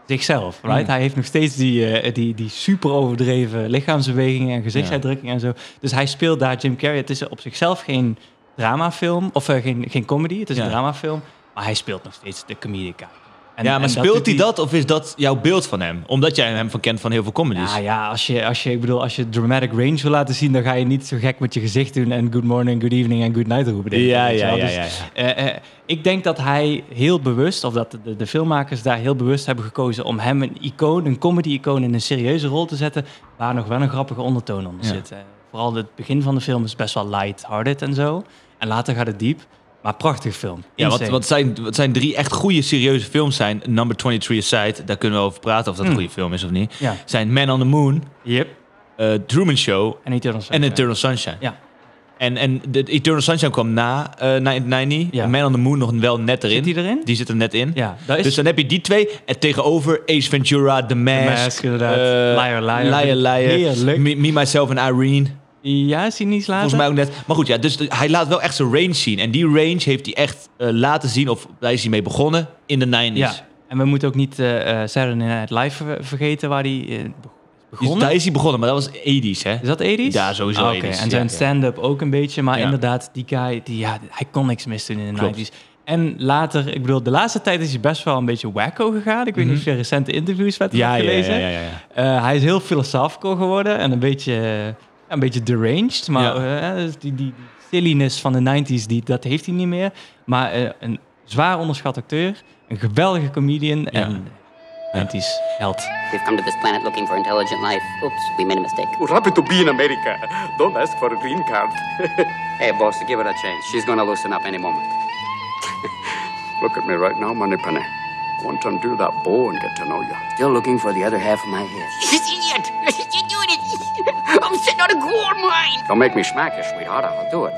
S2: zichzelf. Right?
S1: Mm.
S2: Hij heeft nog steeds die, eh, die, die super overdreven lichaamsbewegingen en gezichtsuitdrukkingen en zo. Dus hij speelt daar Jim Carrey. Het is op zichzelf geen dramafilm, of eh, geen, geen comedy, het is
S1: Ja.
S2: een dramafilm. Maar hij speelt nog steeds de comedic. guy. En-
S1: ja,
S2: en
S1: maar
S2: dat
S1: speelt
S2: doet
S1: hij dat of is dat jouw beeld van hem? Omdat jij hem van kent van heel veel comedies.
S2: Ja, ja als, je, als, je, ik bedoel, als je dramatic range wil laten zien, dan ga je niet zo gek met je gezicht doen en good morning, good evening en good night roepen. denk ik,
S1: Ja,
S2: weet je
S1: ja,
S2: wel.
S1: ja,
S2: Dus,
S1: ja, ja.
S2: eh, eh, ik denk dat hij heel bewust, of dat de, de filmmakers daar heel bewust hebben gekozen om hem een icoon, een comedy-icoon in een serieuze rol te zetten, waar nog wel een grappige ondertoon onder
S1: Ja.
S2: zit. Eh, vooral het begin van de film is best wel light-hearted en zo. En later gaat het diep. Maar prachtig film.
S1: Ja, wat,
S2: Insane.
S1: wat, zijn, wat zijn drie echt goede serieuze films zijn. Number 23 Aside, daar kunnen we over praten of dat een goede film is of niet.
S2: Mm. Ja.
S1: Zijn Man on the Moon,
S2: Yep.
S1: eh Truman Show
S2: En Eternal Sunshine.
S1: en Eternal Sunshine.
S2: Ja.
S1: En, en de Eternal Sunshine kwam na eh 1990.
S2: Ja.
S1: En Man on the Moon nog wel net erin.
S2: die erin?
S1: Die zit er net in.
S2: Ja, daar is-
S1: Dus dan heb je die twee. En tegenover Ace Ventura, The Mask.
S2: Mask, inderdaad.
S1: eh,
S2: Liar, Liar.
S1: Liar, Liar.
S2: Heerlijk.
S1: Me, Me, Myself en Irene.
S2: Ja, is die niet later?
S1: Volgens mij ook net. Maar goed, ja, dus de- hij laat wel echt zijn range zien. En die range heeft hij echt eh, laten zien, of daar is hij mee begonnen, in de Dus 90s.
S2: Ja, en we moeten ook niet eh eh, Saturday Night Live ver- vergeten waar die eh, be-
S1: Dus
S2: begonnen.
S1: daar is hij begonnen, maar dat was 80s, hè?
S2: Is dat 80s?
S1: Ja, sowieso
S2: Ah, Oké,
S1: 80s,
S2: en zijn
S1: ja, ja.
S2: stand-up ook een beetje. Maar
S1: Ja.
S2: inderdaad, die guy, die, ja, hij kon niks misdoen in de
S1: Klopt.
S2: 90s. En later, ik bedoel, de laatste tijd is hij best wel een beetje wacko gegaan. Ik weet niet of je recente interviews met hem
S1: Mhm. Ja,
S2: hebt
S1: ja,
S2: gelezen.
S1: ja, ja, ja.
S2: Eh, hij is heel philosophical geworden en een beetje, eh, een beetje deranged. Maar
S1: Ja.
S2: eh, dus die, die silliness van de 90s, die, dat heeft hij niet meer. Maar eh, een zwaar onderschat acteur, een geweldige comedian en 90s held.
S13: We've come to this planet looking for intelligent life. Oops, we made a mistake.
S14: We're happy to be in America. Don't ask for a green card.
S13: Hey, boss, give her a chance. She's gonna loosen up any moment.
S14: Look at me right now, Moneypenny. Want to undo that bow and get to know you.
S13: Still looking for the other half of my head.
S15: This idiot! You're doing it! I'm sitting on a gold mine!
S14: Don't make me smack you, sweetheart. I'll do it.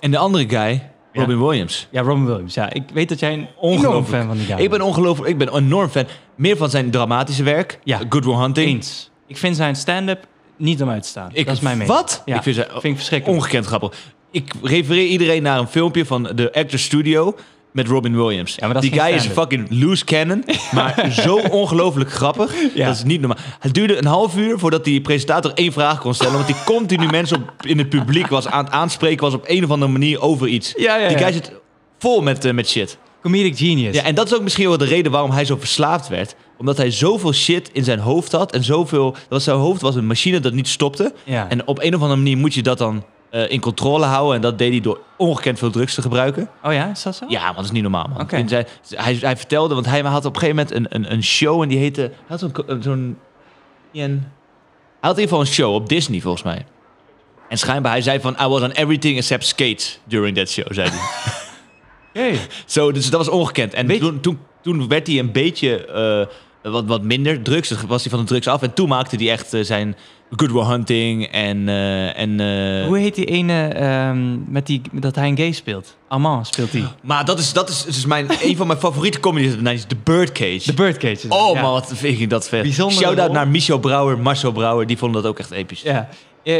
S1: En de andere guy, Robin Williams.
S2: Ja, Robin Williams. Ja, ik weet dat jij een enorm
S1: Ongelooflijk.
S2: fan van die guy
S1: Ik ben ongelooflijk, ik ben enorm fan. Meer van zijn dramatische werk,
S2: Ja.
S1: Good Will Hunting.
S2: Eens. Ik vind zijn stand-up niet om uit te staan.
S1: Ik,
S2: dat is mijn mening.
S1: Wat?
S2: Ja,
S1: Ik vind ze
S2: ik verschrikkelijk.
S1: ongekend grappig. Ik refereer iedereen naar een filmpje van de Actors Studio. met Robin Williams.
S2: dat is
S1: die
S2: geen
S1: guy is
S2: stand-up.
S1: fucking loose cannon, maar zo ongelooflijk grappig. Dat is niet normaal. Het duurde een half uur voordat die presentator één vraag kon stellen, want die continu mensen op, in het publiek was aan het aanspreken was op een of andere manier over iets.
S2: Ja, ja,
S1: die
S2: ja.
S1: guy zit vol met, eh, met shit.
S2: Comedic genius.
S1: Ja, en dat is ook misschien wel de reden waarom hij zo verslaafd werd. Omdat hij zoveel shit in zijn hoofd had. En zoveel. Dat was, zijn hoofd was een machine dat niet stopte.
S2: Ja.
S1: En op een of andere manier moet je dat dan eh, in controle houden. En dat deed hij door ongekend veel drugs te gebruiken.
S2: Oh ja, is dat zo?
S1: Ja, want dat is niet normaal, man.
S2: Oké.
S1: En zij- hij, hij vertelde, want hij had op een gegeven moment een, een, een show. En die heette. Hij had zo'n. eh, zo'n- en- hij had in ieder geval een show op Disney, volgens mij. En schijnbaar, hij zei van... I was on everything except skates during that show, zei hij. Zo, dus dat was ongekend. En toen, toen, toen werd hij een beetje eh, wat, wat minder drugs. Dus was hij van de drugs af. En toen maakte hij echt eh, zijn Good Will Hunting en... eh, en eh,
S2: Hoe heet die ene ehm, met die, dat hij een gay speelt? Armand speelt die.
S1: maar dat is, dat is, dus mijn, een van mijn favoriete comedies uit de 90's, The Birdcage. The
S2: Birdcage.
S1: Oh
S2: ja.
S1: man, wat vind ik dat vet.
S2: Bijzondere
S1: Shout-out
S2: rol.
S1: naar Michel Brouwer, Marcel Brouwer. Die vonden dat ook echt episch.
S2: Ja. Eh,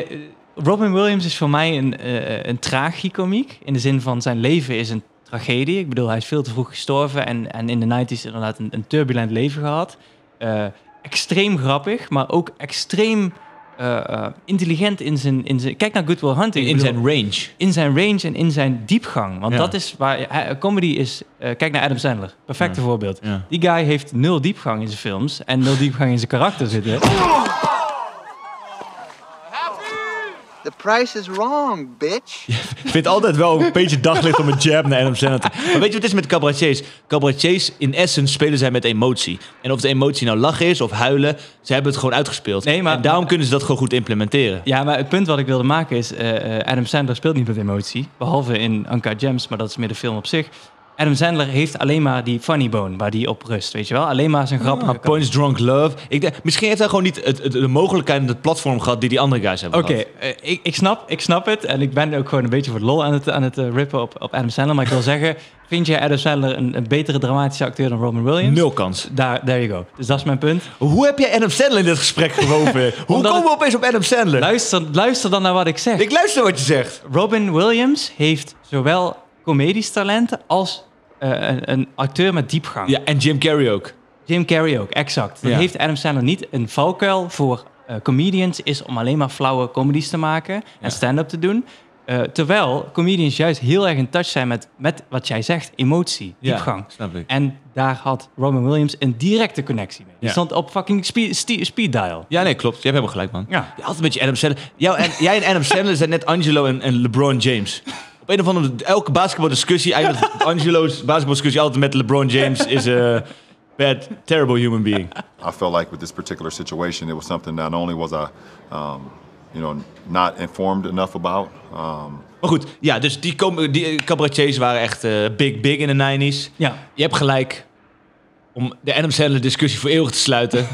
S2: Robin Williams is voor mij een, eh een tragiekomiek. In de zin van zijn leven is een tragedie. Ik bedoel, hij is veel te vroeg gestorven en, en in de 90s inderdaad een, een turbulent leven gehad. Eh, extreem grappig, maar ook extreem eh, eh, intelligent in zijn, in zijn. Kijk naar Good Will Hunting.
S1: In
S2: Ik bedoel,
S1: zijn range.
S2: In zijn range en in zijn diepgang. Want
S1: Ja.
S2: dat is waar. hij- comedy is. eh, kijk naar Adam Sandler. Perfecte
S1: Ja.
S2: voorbeeld.
S1: Ja.
S2: Die guy heeft nul diepgang in zijn films en nul diepgang in zijn karakter zitten.
S16: The price is wrong, bitch.
S1: Ik vind altijd wel een beetje daglicht om een jab naar Adam Sandler te... Maar weet je wat het is met cabaretiers? Cabaretiers, in essence, spelen zij met emotie. En of de emotie nou lachen is of huilen, ze hebben het gewoon uitgespeeld. en daarom kunnen ze dat gewoon goed implementeren.
S2: Ja, maar het punt wat ik wilde maken is... eh, eh, Adam Sandler speelt niet met emotie. Behalve in Anka Gems, maar dat is meer de film op zich. Adam Sandler heeft alleen maar die funny bone waar die op rust, weet je wel? Alleen maar zijn grappige
S1: Ah,
S2: kant.
S1: Points Drunk Love. Ik denk, misschien heeft hij gewoon niet het, het- de mogelijkheid en het platform gehad die die andere guys hebben
S2: Oké,
S1: gehad.
S2: eh, ik, ik, snap, ik snap het. En ik ben ook gewoon een beetje voor de lol aan het, aan het eh, rippen op, op Adam Sandler. Maar ik wil zeggen, vind jij Adam Sandler een, een betere dramatische acteur dan Robin Williams?
S1: Nul kans.
S2: Daar, there you go. Dus dat is mijn punt.
S1: Hoe heb jij Adam Sandler in dit gesprek gewoven? Hoe
S2: Omdat
S1: komen we opeens op Adam Sandler?
S2: Luister, luister dan naar wat ik zeg. Ik
S1: luister wat je zegt.
S2: Robin Williams heeft zowel comedisch talenten als eh, een, een acteur met diepgang.
S1: Ja, en Jim Carrey ook.
S2: Jim Carrey ook, exact. Dan
S1: Ja.
S2: heeft Adam Sandler niet een valkuil voor eh, comedians... is om alleen maar flauwe comedies te maken en stand-up te doen. Eh, terwijl comedians juist heel erg in touch zijn met, met wat jij zegt, emotie,
S1: Ja,
S2: diepgang.
S1: snap ik.
S2: En daar had Robin Williams een directe connectie mee. Die
S1: Ja.
S2: stond op fucking speed, speed- speed dial.
S1: Ja, nee, klopt. Je hebt helemaal gelijk, man.
S2: Ja.
S1: Je had een beetje Adam Sandler. Jou en, jij en Adam Sandler zijn net Angelo en, en LeBron James. Op een of andere elke basketbaldiscussie eindigt Angelo's basketbaldiscussie altijd met LeBron James is a bad, terrible human being.
S17: I felt like with this particular situation, it was something not only was I, um, you know, not informed enough about. Um,
S1: Maar goed, ja, dus die, com- die eh, cabaretiers waren echt eh, big, big in de 90s.
S2: Ja.
S1: Je hebt gelijk. Om de Adam Sandler discussie voor eeuwig te sluiten.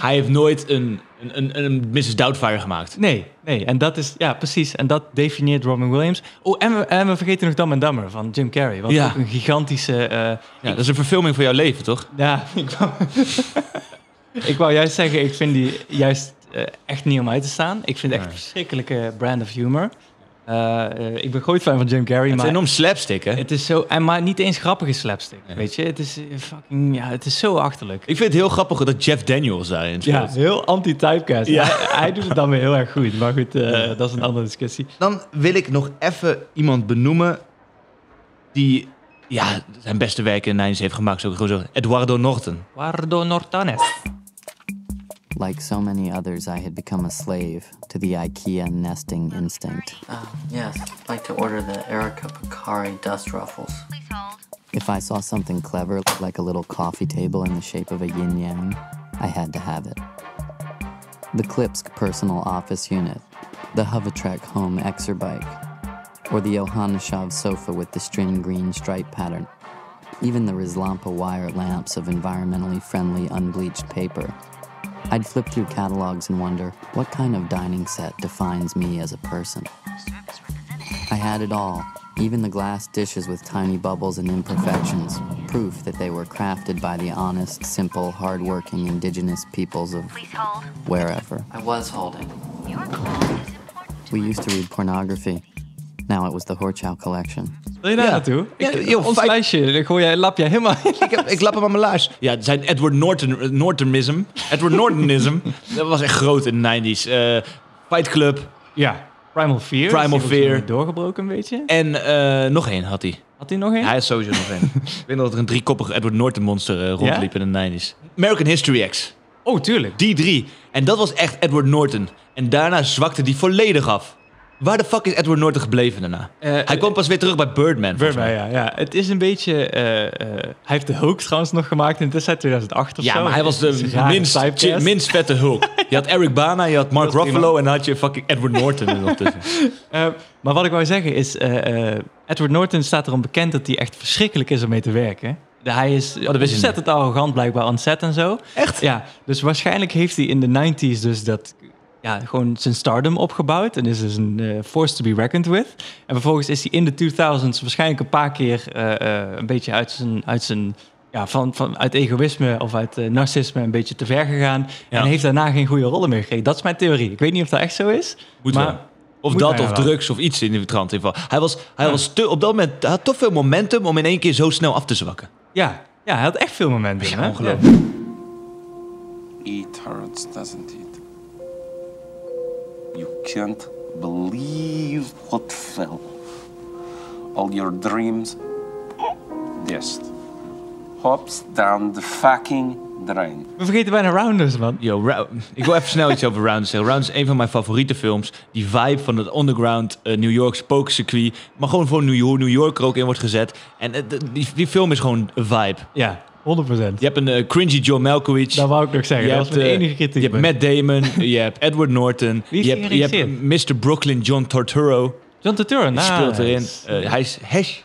S1: hij heeft nooit een, een, een, een Mrs. Doubtfire gemaakt.
S2: Nee, nee. En dat is, ja, precies. En dat definieert Robin Williams. Oh, en we, en we vergeten nog Dumb and Dumber van Jim Carrey. Wat
S1: Ja.
S2: ook een gigantische... eh,
S1: Ja, dat is een verfilming van jouw leven, toch?
S2: Ja, ik wou, ik wou juist zeggen, ik vind die juist eh, echt niet om uit te staan. Ik vind het echt een verschrikkelijke brand of humor. Eh, eh, ik ben groot fan van Jim Carrey,
S1: Het is
S2: maar...
S1: enorm slapstick, hè?
S2: Het is zo... En maar niet eens grappige slapstick, weet je? Het is eh, fucking... Ja, het is zo achterlijk.
S1: Ik vind het heel grappig dat Jeff Daniels daarin speelt.
S2: Ja, heel anti-typecast.
S1: Ja.
S2: Hij, hij doet het dan weer heel erg goed. Maar goed, eh, dat is een andere discussie.
S1: Dan wil ik nog even iemand benoemen die ja, zijn beste werk in Nijns heeft gemaakt. Zou ik gewoon zeggen. Eduardo Norton.
S2: Guardo Nortanes.
S18: Like so many others, I had become a slave to the IKEA nesting instinct.
S19: Uh, Yes, I'd like to order the Erica Picari dust ruffles.
S18: If I saw something clever, like a little coffee table in the shape of a yin yang, I had to have it. The Klipsk personal office unit, the Hovatrek home exer bike, or the Yohannishov sofa with the string green stripe pattern, even the Rizlampa wire lamps of environmentally friendly unbleached paper. I'd flip through catalogs and wonder what kind of dining set defines me as a person. I had it all, even the glass dishes with tiny bubbles and imperfections, proof that they were crafted by the honest, simple, hardworking indigenous peoples of wherever.
S19: I was holding.
S18: We used to read pornography. Now it was the Horchow collection.
S2: Wil je daar
S1: Ja.
S2: naartoe?
S1: Ja,
S2: Ik-
S1: joh,
S2: ons
S1: vijf-
S2: lijstje, daar gooi jij, lap jij helemaal in.
S1: Ik, heb, ik lap hem aan mijn laars. Ja, zijn Edward Norton, Nortonism. Edward Nortonism. dat was echt groot in de 90s. Eh, Fight Club.
S2: Ja, Primal Fear.
S1: Primal
S2: Die wordt
S1: Fear.
S2: weer Doorgebroken, weet je.
S1: En eh, nog één had hij.
S2: Had hij nog één?
S1: Ja, hij had sowieso nog één. ik weet nog dat er een driekoppig Edward Norton monster eh, rondliep in de 90s. American History X.
S2: Oh, tuurlijk.
S1: Die drie. En dat was echt Edward Norton. En daarna zwakte die volledig af. Waar de fuck is Edward Norton gebleven daarna? hij kwam pas weer terug bij Birdman. volgens
S2: Eh, Birdman, ja, ja. Het is een beetje... eh, eh, hij heeft de Hulk trouwens nog gemaakt in de tijd 2008 of
S1: Ja,
S2: zo.
S1: maar hij was
S2: Het is
S1: de
S2: een rare
S1: minst,
S2: typecast.
S1: chi- minst vette Hulk. Je had Eric Bana, je had Mark
S2: Dat is
S1: Ruffalo en dan had je fucking Edward Norton er nog tussen.
S2: Eh, maar wat ik wou zeggen is, eh, eh, Edward Norton staat erom bekend dat hij echt verschrikkelijk is om mee te werken. De- Hij is
S1: Oh, ik niet.
S2: ontzettend arrogant blijkbaar aan set en zo.
S1: Echt?
S2: Ja, dus waarschijnlijk heeft hij in de 90s dus dat, ja, gewoon zijn stardom opgebouwd. En is dus een eh, force to be reckoned with. En vervolgens is hij in de 2000s waarschijnlijk een paar keer eh, eh, een beetje uit zijn, uit zijn ja, van, van, uit egoïsme of uit eh, narcisme een beetje te ver gegaan. En heeft daarna geen goede rollen meer gekregen. Dat is mijn theorie. Ik weet niet of dat echt zo is.
S1: Moet
S2: maar,
S1: wel. Of
S2: moet nou
S1: dat,
S2: bijna
S1: of
S2: wel.
S1: drugs, of iets in de trant. in ieder geval. Hij was, hij was te, op dat moment hij had toch veel momentum om in één keer zo snel af te zwakken.
S2: Ja, ja hij had echt veel momenten. Ja,
S1: ongelooflijk.
S20: It hurts, doesn't it? You can't believe what fell. All your dreams just hops down the fucking drain.
S2: We vergeten bijna Rounders, man.
S1: Yo, Rou- ik wil even snel iets over Rounders zeggen. Rounders is een van mijn favoriete films. Die vibe van het underground eh, New York spookcircuit. Maar gewoon voor New York, New York er ook in wordt gezet. En eh, d- die, die film is gewoon een vibe.
S2: Ja, 100%.
S1: Je hebt een eh, cringy John Malkovich.
S2: Dat wou ik nog zeggen.
S1: Je
S2: dat
S1: hebt,
S2: was mijn
S1: eh,
S2: enige kritiek.
S1: je hebt Matt Damon, je hebt Edward Norton,
S2: Wie heeft
S1: je
S2: die
S1: hebt, je hebt Mr. Brooklyn John Torturo.
S2: John Turturro,
S1: Die speelt
S2: nice.
S1: erin. Eh, hij is hash,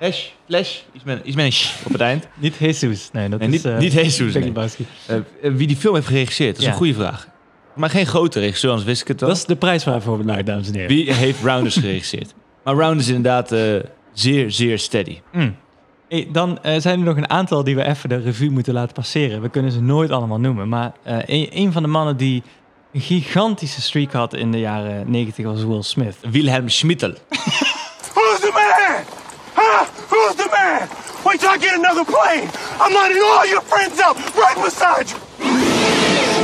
S1: hash, flash, iets met, iets met een sh op het eind.
S2: Niet Jesus. Nee, dat
S1: Nee,
S2: is...
S1: niet,
S2: eh,
S1: niet Jesus.
S2: Big
S1: nee.
S2: Lebowski.
S1: Eh, eh, wie die film heeft geregisseerd, dat is
S2: Ja.
S1: een goede vraag. Maar geen grote regisseur, anders wist ik het wel.
S2: Dat is de prijs waarvoor we naar, dames en heren.
S1: Wie heeft Rounders geregisseerd? Maar Rounders is inderdaad eh, zeer, zeer steady.
S2: Mm. Hey, dan eh, zijn er nog een aantal die we even de revue moeten laten passeren. We kunnen ze nooit allemaal noemen. Maar eh, een, een van de mannen die een gigantische streak had in de jaren 90 was Will Smith.
S1: Wilhelm Schmittel.
S3: Who's the man? Huh? Who's the man? Wait till I get another plane. I'm lining all your friends up right beside you.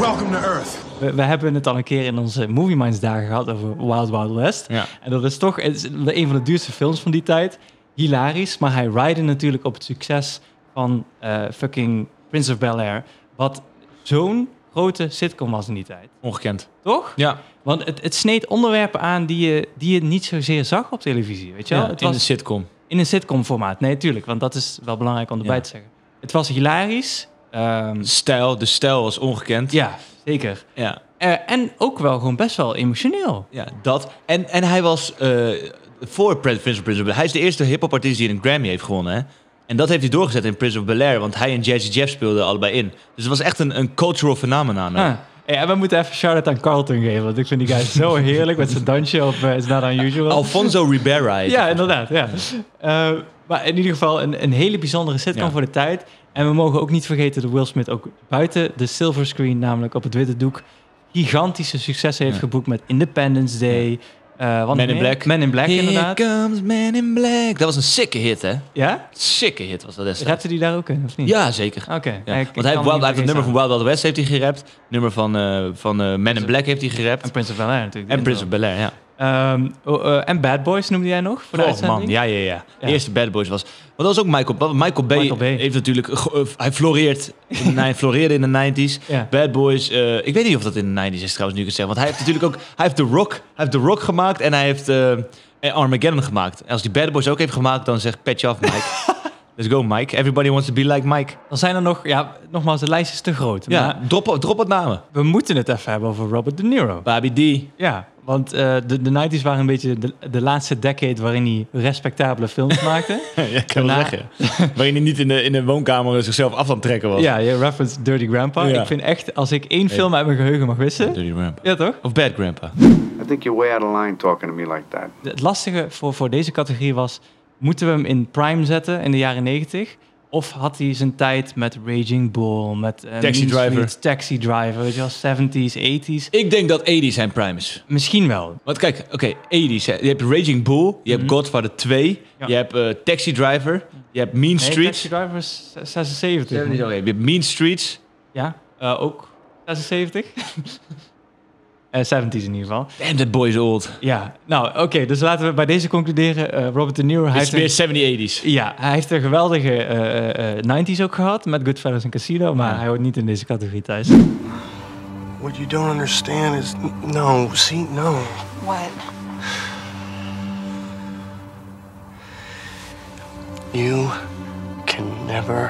S5: Welcome to Earth.
S2: We, we hebben het al een keer in onze Movie Minds dagen gehad over Wild Wild West.
S1: Ja.
S2: En dat is toch het is een van de duurste films van die tijd. Hilarisch, maar hij rijden natuurlijk op het succes van eh, fucking Prince of Bel-Air. Wat zo'n grote sitcom was in die tijd.
S1: Ongekend.
S2: Toch?
S1: Ja.
S2: Want het, het sneed onderwerpen aan die je, die je niet zozeer zag op televisie. Weet je wel?
S1: Ja,
S2: het
S1: in
S2: was
S1: de sitcom.
S2: in een sitcom-formaat. Nee, tuurlijk, want dat is wel belangrijk om erbij
S1: Ja.
S2: te zeggen. Het was hilarisch. ehm,
S1: Stijl, de stijl was ongekend.
S2: ja, zeker.
S1: Ja.
S2: Eh, en ook wel gewoon best wel emotioneel.
S1: Ja, dat. En, en hij was eh, voor Prince Prince of Prince of Bel Hij is de eerste hip-hop artiest die een Grammy heeft gewonnen. Hè? En dat heeft hij doorgezet in Prince of Bel Air, want hij en Jazzy Jeff speelden allebei in. Dus het was echt een, een cultural phenomenon. hè.
S2: Ah. Ja, en we moeten even shout-out aan Carlton geven. Want ik vind die guy zo heerlijk met zijn dansje op eh, It's Not Unusual.
S1: Alfonso Ribera. heet
S2: Ja,
S1: hij.
S2: inderdaad. Ja. Eh, maar in ieder geval een, een hele bijzondere sitcom
S1: Ja.
S2: voor de tijd. En we mogen ook niet vergeten dat Will Smith ook buiten de silver screen, namelijk op het witte doek, gigantische successen heeft
S1: Ja.
S2: geboekt met Independence Day. eh, wat
S1: Man
S2: nog
S1: in
S2: meer?
S1: Black.
S2: Men in Black,
S1: Here
S2: inderdaad.
S1: comes Man in Black. Dat was een sikke hit, hè?
S2: Ja?
S1: Sikke hit was dat destijds.
S2: Rapte die daar ook in, of niet?
S1: Ja, zeker.
S2: Oké. ik-
S1: Ja,
S2: ik
S1: Want hij
S2: kan
S1: heeft, Wild, hij
S2: niet
S1: heeft het nummer van
S2: vergeten.
S1: Wild Wild West heeft hij gerapt. Het nummer van, eh van eh Man in Black heeft hij gerapt.
S2: En Prince of Bel-Air natuurlijk.
S1: En Prince of Bel Air, ja.
S2: Ehm, oh, eh, en Bad Boys noemde jij nog voor de
S1: Oh
S2: uitzending?
S1: man, ja, ja, ja. De
S2: Ja.
S1: eerste Bad Boys was. Want dat was ook Michael. want Michael Bay,
S2: Michael Bay.
S1: heeft natuurlijk. ge- eh, hij floreert. in de- hij floreerde in de 90s.
S2: Ja.
S1: Bad Boys. eh, ik weet niet of dat in de 90s is trouwens, nu ik het zeg. Want hij heeft natuurlijk ook. Hij heeft The Rock, hij heeft The Rock gemaakt en hij heeft eh, eh, Armageddon gemaakt. En als die Bad Boys ook heeft gemaakt, dan zegt Patch off, Mike. Let's go, Mike. Everybody wants to be like Mike.
S2: Dan zijn er nog, ja, nogmaals, de lijst is te groot.
S1: Ja,
S2: Maar
S1: drop, drop wat namen.
S2: we moeten het even hebben over Robert De Niro.
S1: Babi D.
S2: Ja, want eh, de, de 90s waren een beetje de, de laatste decade waarin hij respectabele films maakte.
S1: Ja, ik kan wel
S2: Daarna-
S1: zeggen. Waarin hij niet in de, in de woonkamer zichzelf af aan het trekken was.
S2: ja, je referenced Dirty Grandpa.
S1: Ja.
S2: Ik vind echt, als ik één film uit mijn geheugen mag wissen.
S1: Dirty Grandpa.
S2: Ja, toch?
S1: Of Bad Grandpa.
S14: I think you're way out of line talking to me like that.
S2: Het lastige voor, voor deze categorie was: moeten we hem in prime zetten in de jaren 90? Of had hij zijn tijd met Raging Bull, met eh,
S1: Taxi
S2: Mean
S1: Driver.
S2: Streets, Taxi Driver, weet je wel, 70s, 80s.
S1: Ik denk dat 80s zijn prime is.
S2: Misschien wel.
S1: Want kijk, oké, 80s. hè. Je hebt Raging Bull, je hebt Godfather 2, je hebt eh, Taxi Driver, je hebt Mean
S2: Nee,
S1: Streets.
S2: Taxi Driver is 76. man.
S1: Oké, je hebt Mean Streets.
S2: Ja, eh, ook 76. Eh 70s in ieder geval.
S1: Damn, that boy is old.
S2: Ja, nou oké, dus laten we bij deze concluderen. Eh, Robert De Niro, hij
S1: Het is
S2: heeft, een,
S1: meer 70s, 80s.
S2: ja, hij heeft een geweldige eh, eh, 90s ook gehad met Goodfellas en Casino, maar hij hoort niet in deze categorie thuis.
S3: What you don't understand is n- no, see, no.
S21: What?
S3: You can never,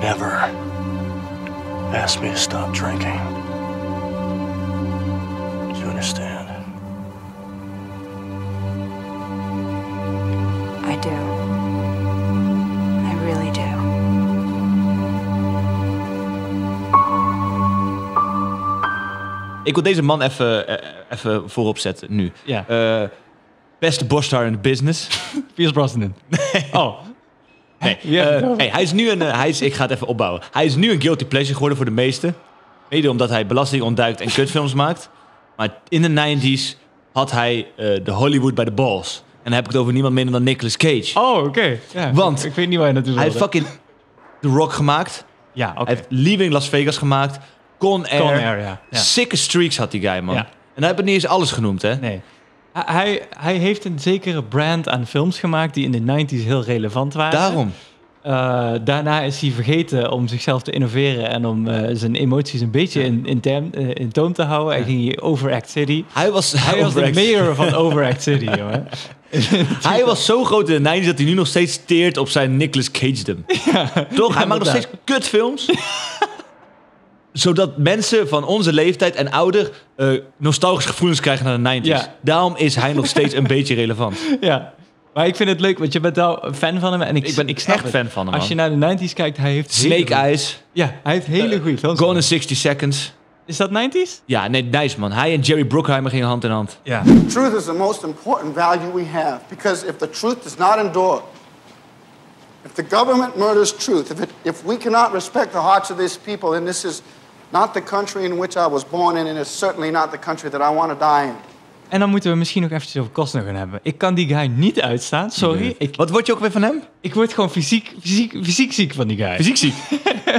S3: never ask me to stop drinking. Do you understand?
S21: I do. I really do.
S1: Ik wil deze man even, eh, even voorop zetten nu.
S2: Ja.
S1: Eh, beste borstar in the business.
S2: Pierce Brosnan. Oh.
S1: Nee. eh, hey, hij is nu een. eh, hij is, ik ga het even opbouwen. Hij is nu een guilty pleasure geworden voor de meesten. Mede omdat hij belasting ontduikt en kutfilms maakt. Maar in de 90s had hij eh, de Hollywood bij de balls. En dan heb ik het over niemand minder dan Nicolas Cage.
S2: Oh, oké. Ja,
S1: Want
S2: ik, ik weet niet waar je naartoe
S1: Hij heeft
S2: wilde.
S1: fucking The Rock gemaakt.
S2: Ja, oké.
S1: Hij heeft Leaving Las Vegas gemaakt. Con Air.
S2: Con Air, ja. Ja.
S1: Sikke streaks had die guy, man.
S2: Ja.
S1: En hij heeft niet eens alles genoemd, hè?
S2: Nee. Hij- Hij, hij heeft een zekere brand aan films gemaakt die in de 90s heel relevant waren.
S1: Daarom.
S2: Eh, daarna is hij vergeten om zichzelf te innoveren en om eh, zijn emoties een beetje in, in, tem- eh, in toom te houden. En ging hij Overact City.
S1: Hij was,
S2: Hij was de
S1: Overact-
S2: mayor van Overact City, jongen.
S1: Hij was zo groot in de 90's dat hij nu nog steeds teert op zijn Nicolas Cagedom. Toch? hij maakt nog steeds kutfilms. zodat mensen van onze leeftijd en ouder eh nostalgische gevoelens krijgen naar de 90's.
S2: Ja.
S1: Daarom is hij nog steeds een beetje relevant.
S2: Ja. Maar ik vind het leuk, want je bent wel een fan van hem. En ik,
S1: Ik ben
S2: ik snap
S1: echt
S2: het.
S1: fan van hem,
S2: Als je naar de 90s kijkt, hij heeft... hele
S1: Snake
S2: goeie-
S1: Eyes, Eh,
S2: Ja, hij heeft hele goede films.
S1: Gone in 60 Seconds.
S2: Is dat 90s?
S1: Ja, nee, nice man. Hij en Jerry Bruckheimer gingen hand in hand.
S2: Ja.
S22: Truth is the most important value we have because if the truth does not endure, if the government murders truth, if, it, if we cannot respect the hearts of these people, then this is not the country in which I was born in, and it's certainly not the country that I want to die in.
S2: En dan moeten we misschien nog eventjes over Costner gaan hebben. Ik kan die guy niet uitstaan, sorry. Ik,
S1: Wat word je ook weer van hem?
S2: ik word gewoon fysiek, fysiek, fysiek ziek van die guy.
S1: Fysiek ziek.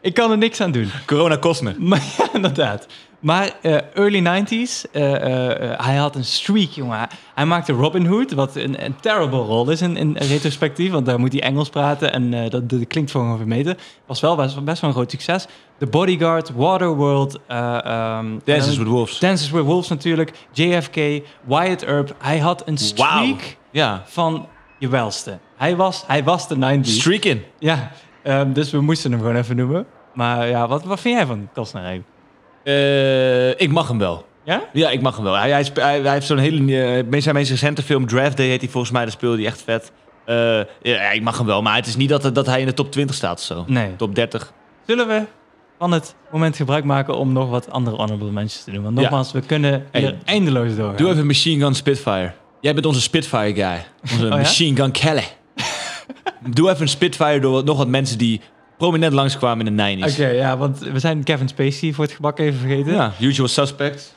S2: Ik kan er niks aan doen.
S1: Corona Costner.
S2: Maar ja, inderdaad. Maar eh, early 90s, eh, eh, eh, hij had een streak, jongen. Hij maakte Robin Hood, wat een, een terrible rol is in, in retrospectief. Want daar moet hij Engels praten en eh, dat, dat klinkt voor een vermeten. Was wel best, best wel een groot succes. The Bodyguard, Waterworld. eh ehm, en dan-
S1: with Wolves.
S2: Dances with Wolves natuurlijk. JFK, Wyatt Earp. Hij had een streak
S1: Wauw. Ja.
S2: van je welste. Hij was, hij was de 90s.
S1: Streak in.
S2: Ja, ehm, dus we moesten hem gewoon even noemen. Maar ja, wat, wat vind jij van Costner eigenlijk?
S1: Eh, ik mag hem wel.
S2: Ja?
S1: Ja, ik mag hem wel. Hij, hij, spe- hij, hij heeft zo'n hele... eh, meest- zijn meest recente film, Draft Day, heet hij volgens mij. Daar speelde hij echt vet. Eh, ja, ik mag hem wel. Maar het is niet dat, dat hij in de top 20 staat of zo.
S2: Nee.
S1: Top 30.
S2: Zullen we van het moment gebruik maken om nog wat andere honorable mentions te doen? Want nogmaals, we kunnen hier
S1: Hey.
S2: eindeloos doorgaan.
S1: Doe even Machine Gun Spitfire. Jij bent onze Spitfire guy. Onze
S2: Oh ja?
S1: Machine Gun Kelly. Doe even een Spitfire door wat- nog wat mensen die prominent langskwamen in de 90s.
S2: Oké, ja, want we zijn Kevin Spacey voor het gebak even vergeten.
S1: Ja, Usual Suspects.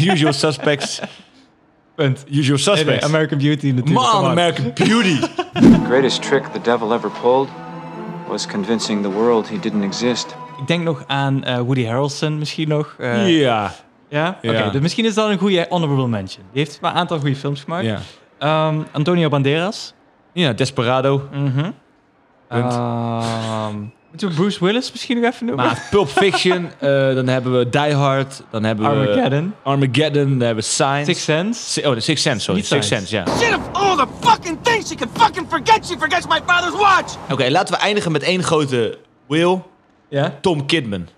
S1: Usual Suspects.
S2: Punt.
S1: Usual
S2: Nee, nee,
S1: Suspects.
S2: American Beauty natuurlijk. come
S1: Man,
S2: on.
S1: American Beauty.
S23: The greatest trick the devil ever pulled was convincing the world he didn't exist.
S2: Ik denk nog aan eh, Woody Harrelson misschien nog. eh,
S1: Ja.
S2: Ja? Oké,
S1: Ja.
S2: dus misschien is dat een goede honorable mention. Die heeft maar een aantal goede films gemaakt.
S1: Ja.
S2: Ehm, Antonio Banderas.
S1: Ja, Desperado.
S2: Mhm.
S1: Punt.
S2: Ehm, moeten we Bruce Willis misschien nog even noemen?
S1: Maar Pulp Fiction, eh, dan hebben we Die Hard, dan hebben
S2: Armageddon.
S1: we Armageddon, dan hebben we Science.
S2: Six Sense.
S1: Si- oh, de Sixth Sense, sorry.
S2: Niet
S1: Sixth
S2: Science.
S1: Sense, ja.
S24: Shit, of all the fucking things she could fucking forget, she forgets my father's watch!
S1: Oké, laten we eindigen met één grote Will.
S2: Ja?
S1: Tom Kidman.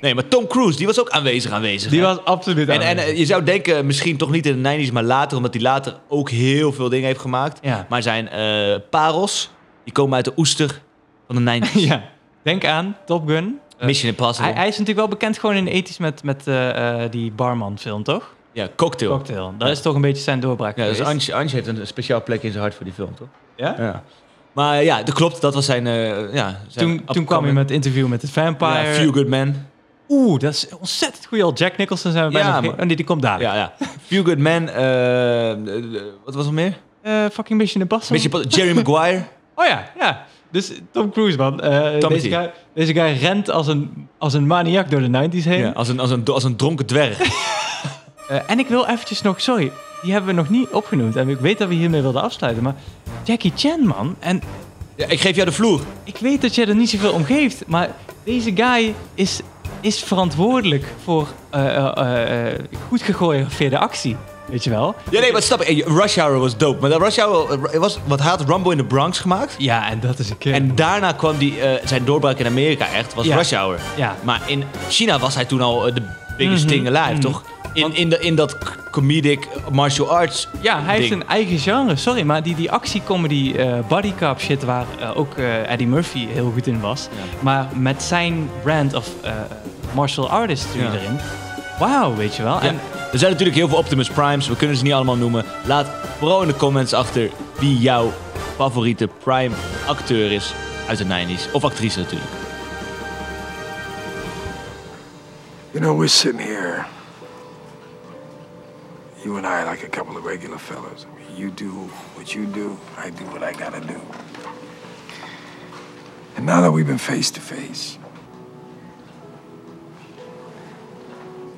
S1: Nee, maar Tom Cruise, die was ook aanwezig aanwezig.
S2: Die
S1: hè?
S2: was absoluut
S1: en, en
S2: aanwezig.
S1: eh, je zou denken, misschien toch niet in de 90s, maar later, omdat hij later ook heel veel dingen heeft gemaakt.
S2: Ja.
S1: Maar zijn eh, parels, die komen uit de oester van de 90s.
S2: ja. Denk aan Top Gun.
S1: Mission Impossible.
S2: Hij, hij is natuurlijk wel bekend gewoon in de ethisch met, met eh, eh, die barman film, toch?
S1: Ja, Cocktail.
S2: Cocktail. Dat is toch een beetje zijn doorbraak
S1: Ja, dus
S2: geweest.
S1: Antje, Antje heeft een speciaal plekje in zijn hart voor die film, toch?
S2: Ja?
S1: Maar ja, dat klopt. Dat was zijn... eh, ja, zijn
S2: Toen, toen kwam je met het interview met het vampire.
S1: Ja, Few Good Men.
S2: Oeh, dat is ontzettend goed al. Jack Nicholson zijn we bijna
S1: Ja,
S2: vergeten.
S1: maar-
S2: Oh nee, die komt dadelijk.
S1: Ja, ja. Few Good Men. eh, eh, wat was er meer?
S2: Eh, fucking Mission Impossible.
S1: Beetje pa- Jerry Maguire.
S2: Oh ja, ja. Dus Tom Cruise, man. Eh,
S1: Tom
S2: deze,
S1: is die.
S2: guy, deze guy rent als een, als een maniak door de 90s heen.
S1: Ja, als, een, als, een, als een dronken dwerg.
S2: Eh, en ik wil eventjes nog, sorry, die hebben we nog niet opgenoemd. En ik weet dat we hiermee wilden afsluiten, maar Jackie Chan, man. En
S1: Ja, ik geef jou de vloer.
S2: ik weet dat jij er niet zoveel om geeft, maar deze guy is, is verantwoordelijk voor eh, eh, eh, eh, goed gechoreografeerde actie. Weet je wel?
S1: Ja, nee, maar snap ik. eh, Rush Hour was dope. Maar dat Rush Hour eh, was... Wat hij had Rumble in the Bronx gemaakt.
S2: Ja, en dat is een keer.
S1: En daarna kwam die, eh, zijn doorbraak in Amerika echt, was
S2: Ja.
S1: Rush Hour.
S2: Ja.
S1: Maar in China was hij toen al eh, de biggest
S2: Mhm,
S1: thing alive,
S2: mhm.
S1: toch? In, in, de, in dat c- comedic martial arts
S2: Ja, hij heeft
S1: ding.
S2: een eigen genre, sorry, maar die, die actiecomedy eh bodycup shit waar eh, ook eh, Eddie Murphy heel goed in was. Maar met zijn brand of eh, martial artist
S1: Ja.
S2: erin. Wauw, weet je wel.
S1: Ja.
S2: En
S1: Er zijn natuurlijk heel veel Optimus Primes, we kunnen ze niet allemaal noemen. Laat vooral in de comments achter wie jouw favoriete Prime acteur is uit de 90s. Of actrice natuurlijk.
S6: You know, we're sitting here, you and I, like a couple of regular fellas. I mean, you do what you do, I do what I gotta do. And now that we've been face to face,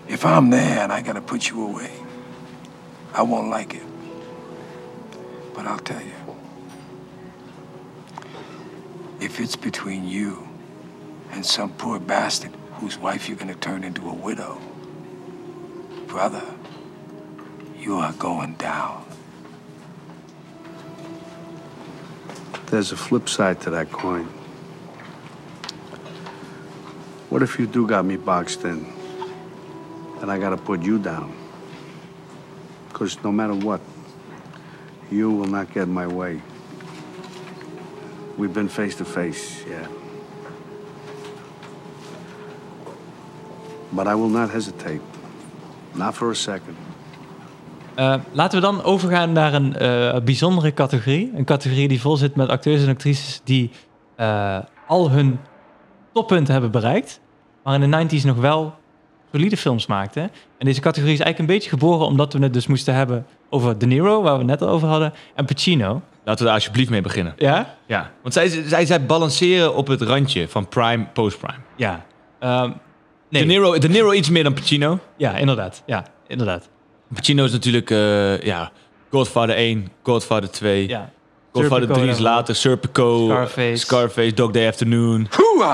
S6: if I'm there and I gotta put you away, I won't like it. But I'll tell you, if it's between you and some poor bastard whose wife you're gonna turn into a widow. Brother, you are going down.
S7: There's a flip side to that coin. What if you do got me boxed in? And I gotta put you down. Because no matter what, you will not get my way. We've been face to face, yeah. But I will not hesitate. Not for a second.
S2: eh, laten we dan overgaan naar een eh, bijzondere categorie. Een categorie die vol zit met acteurs en actrices die eh, al hun toppunt hebben bereikt. Maar in de 90s nog wel solide films maakten. En deze categorie is eigenlijk een beetje geboren omdat we het dus moesten hebben over De Niro, waar we het net al over hadden, en Pacino.
S1: Laten we daar alsjeblieft mee beginnen.
S2: Ja?
S1: Ja, want zij, zij, zij balanceren op het randje van Prime, Post-Prime.
S2: Ja. Ehm,
S1: De, Niro, De Niro iets meer dan Pacino.
S2: Ja, inderdaad. Ja, inderdaad.
S1: Pacino is natuurlijk eh, ja, Godfather 1, Godfather 2.
S2: Ja.
S1: Godfather
S2: Serpico
S1: 3 is
S2: daarvan.
S1: later, Serpico,
S2: Scarface.
S1: Scarface, Dog Day Afternoon.
S2: Hij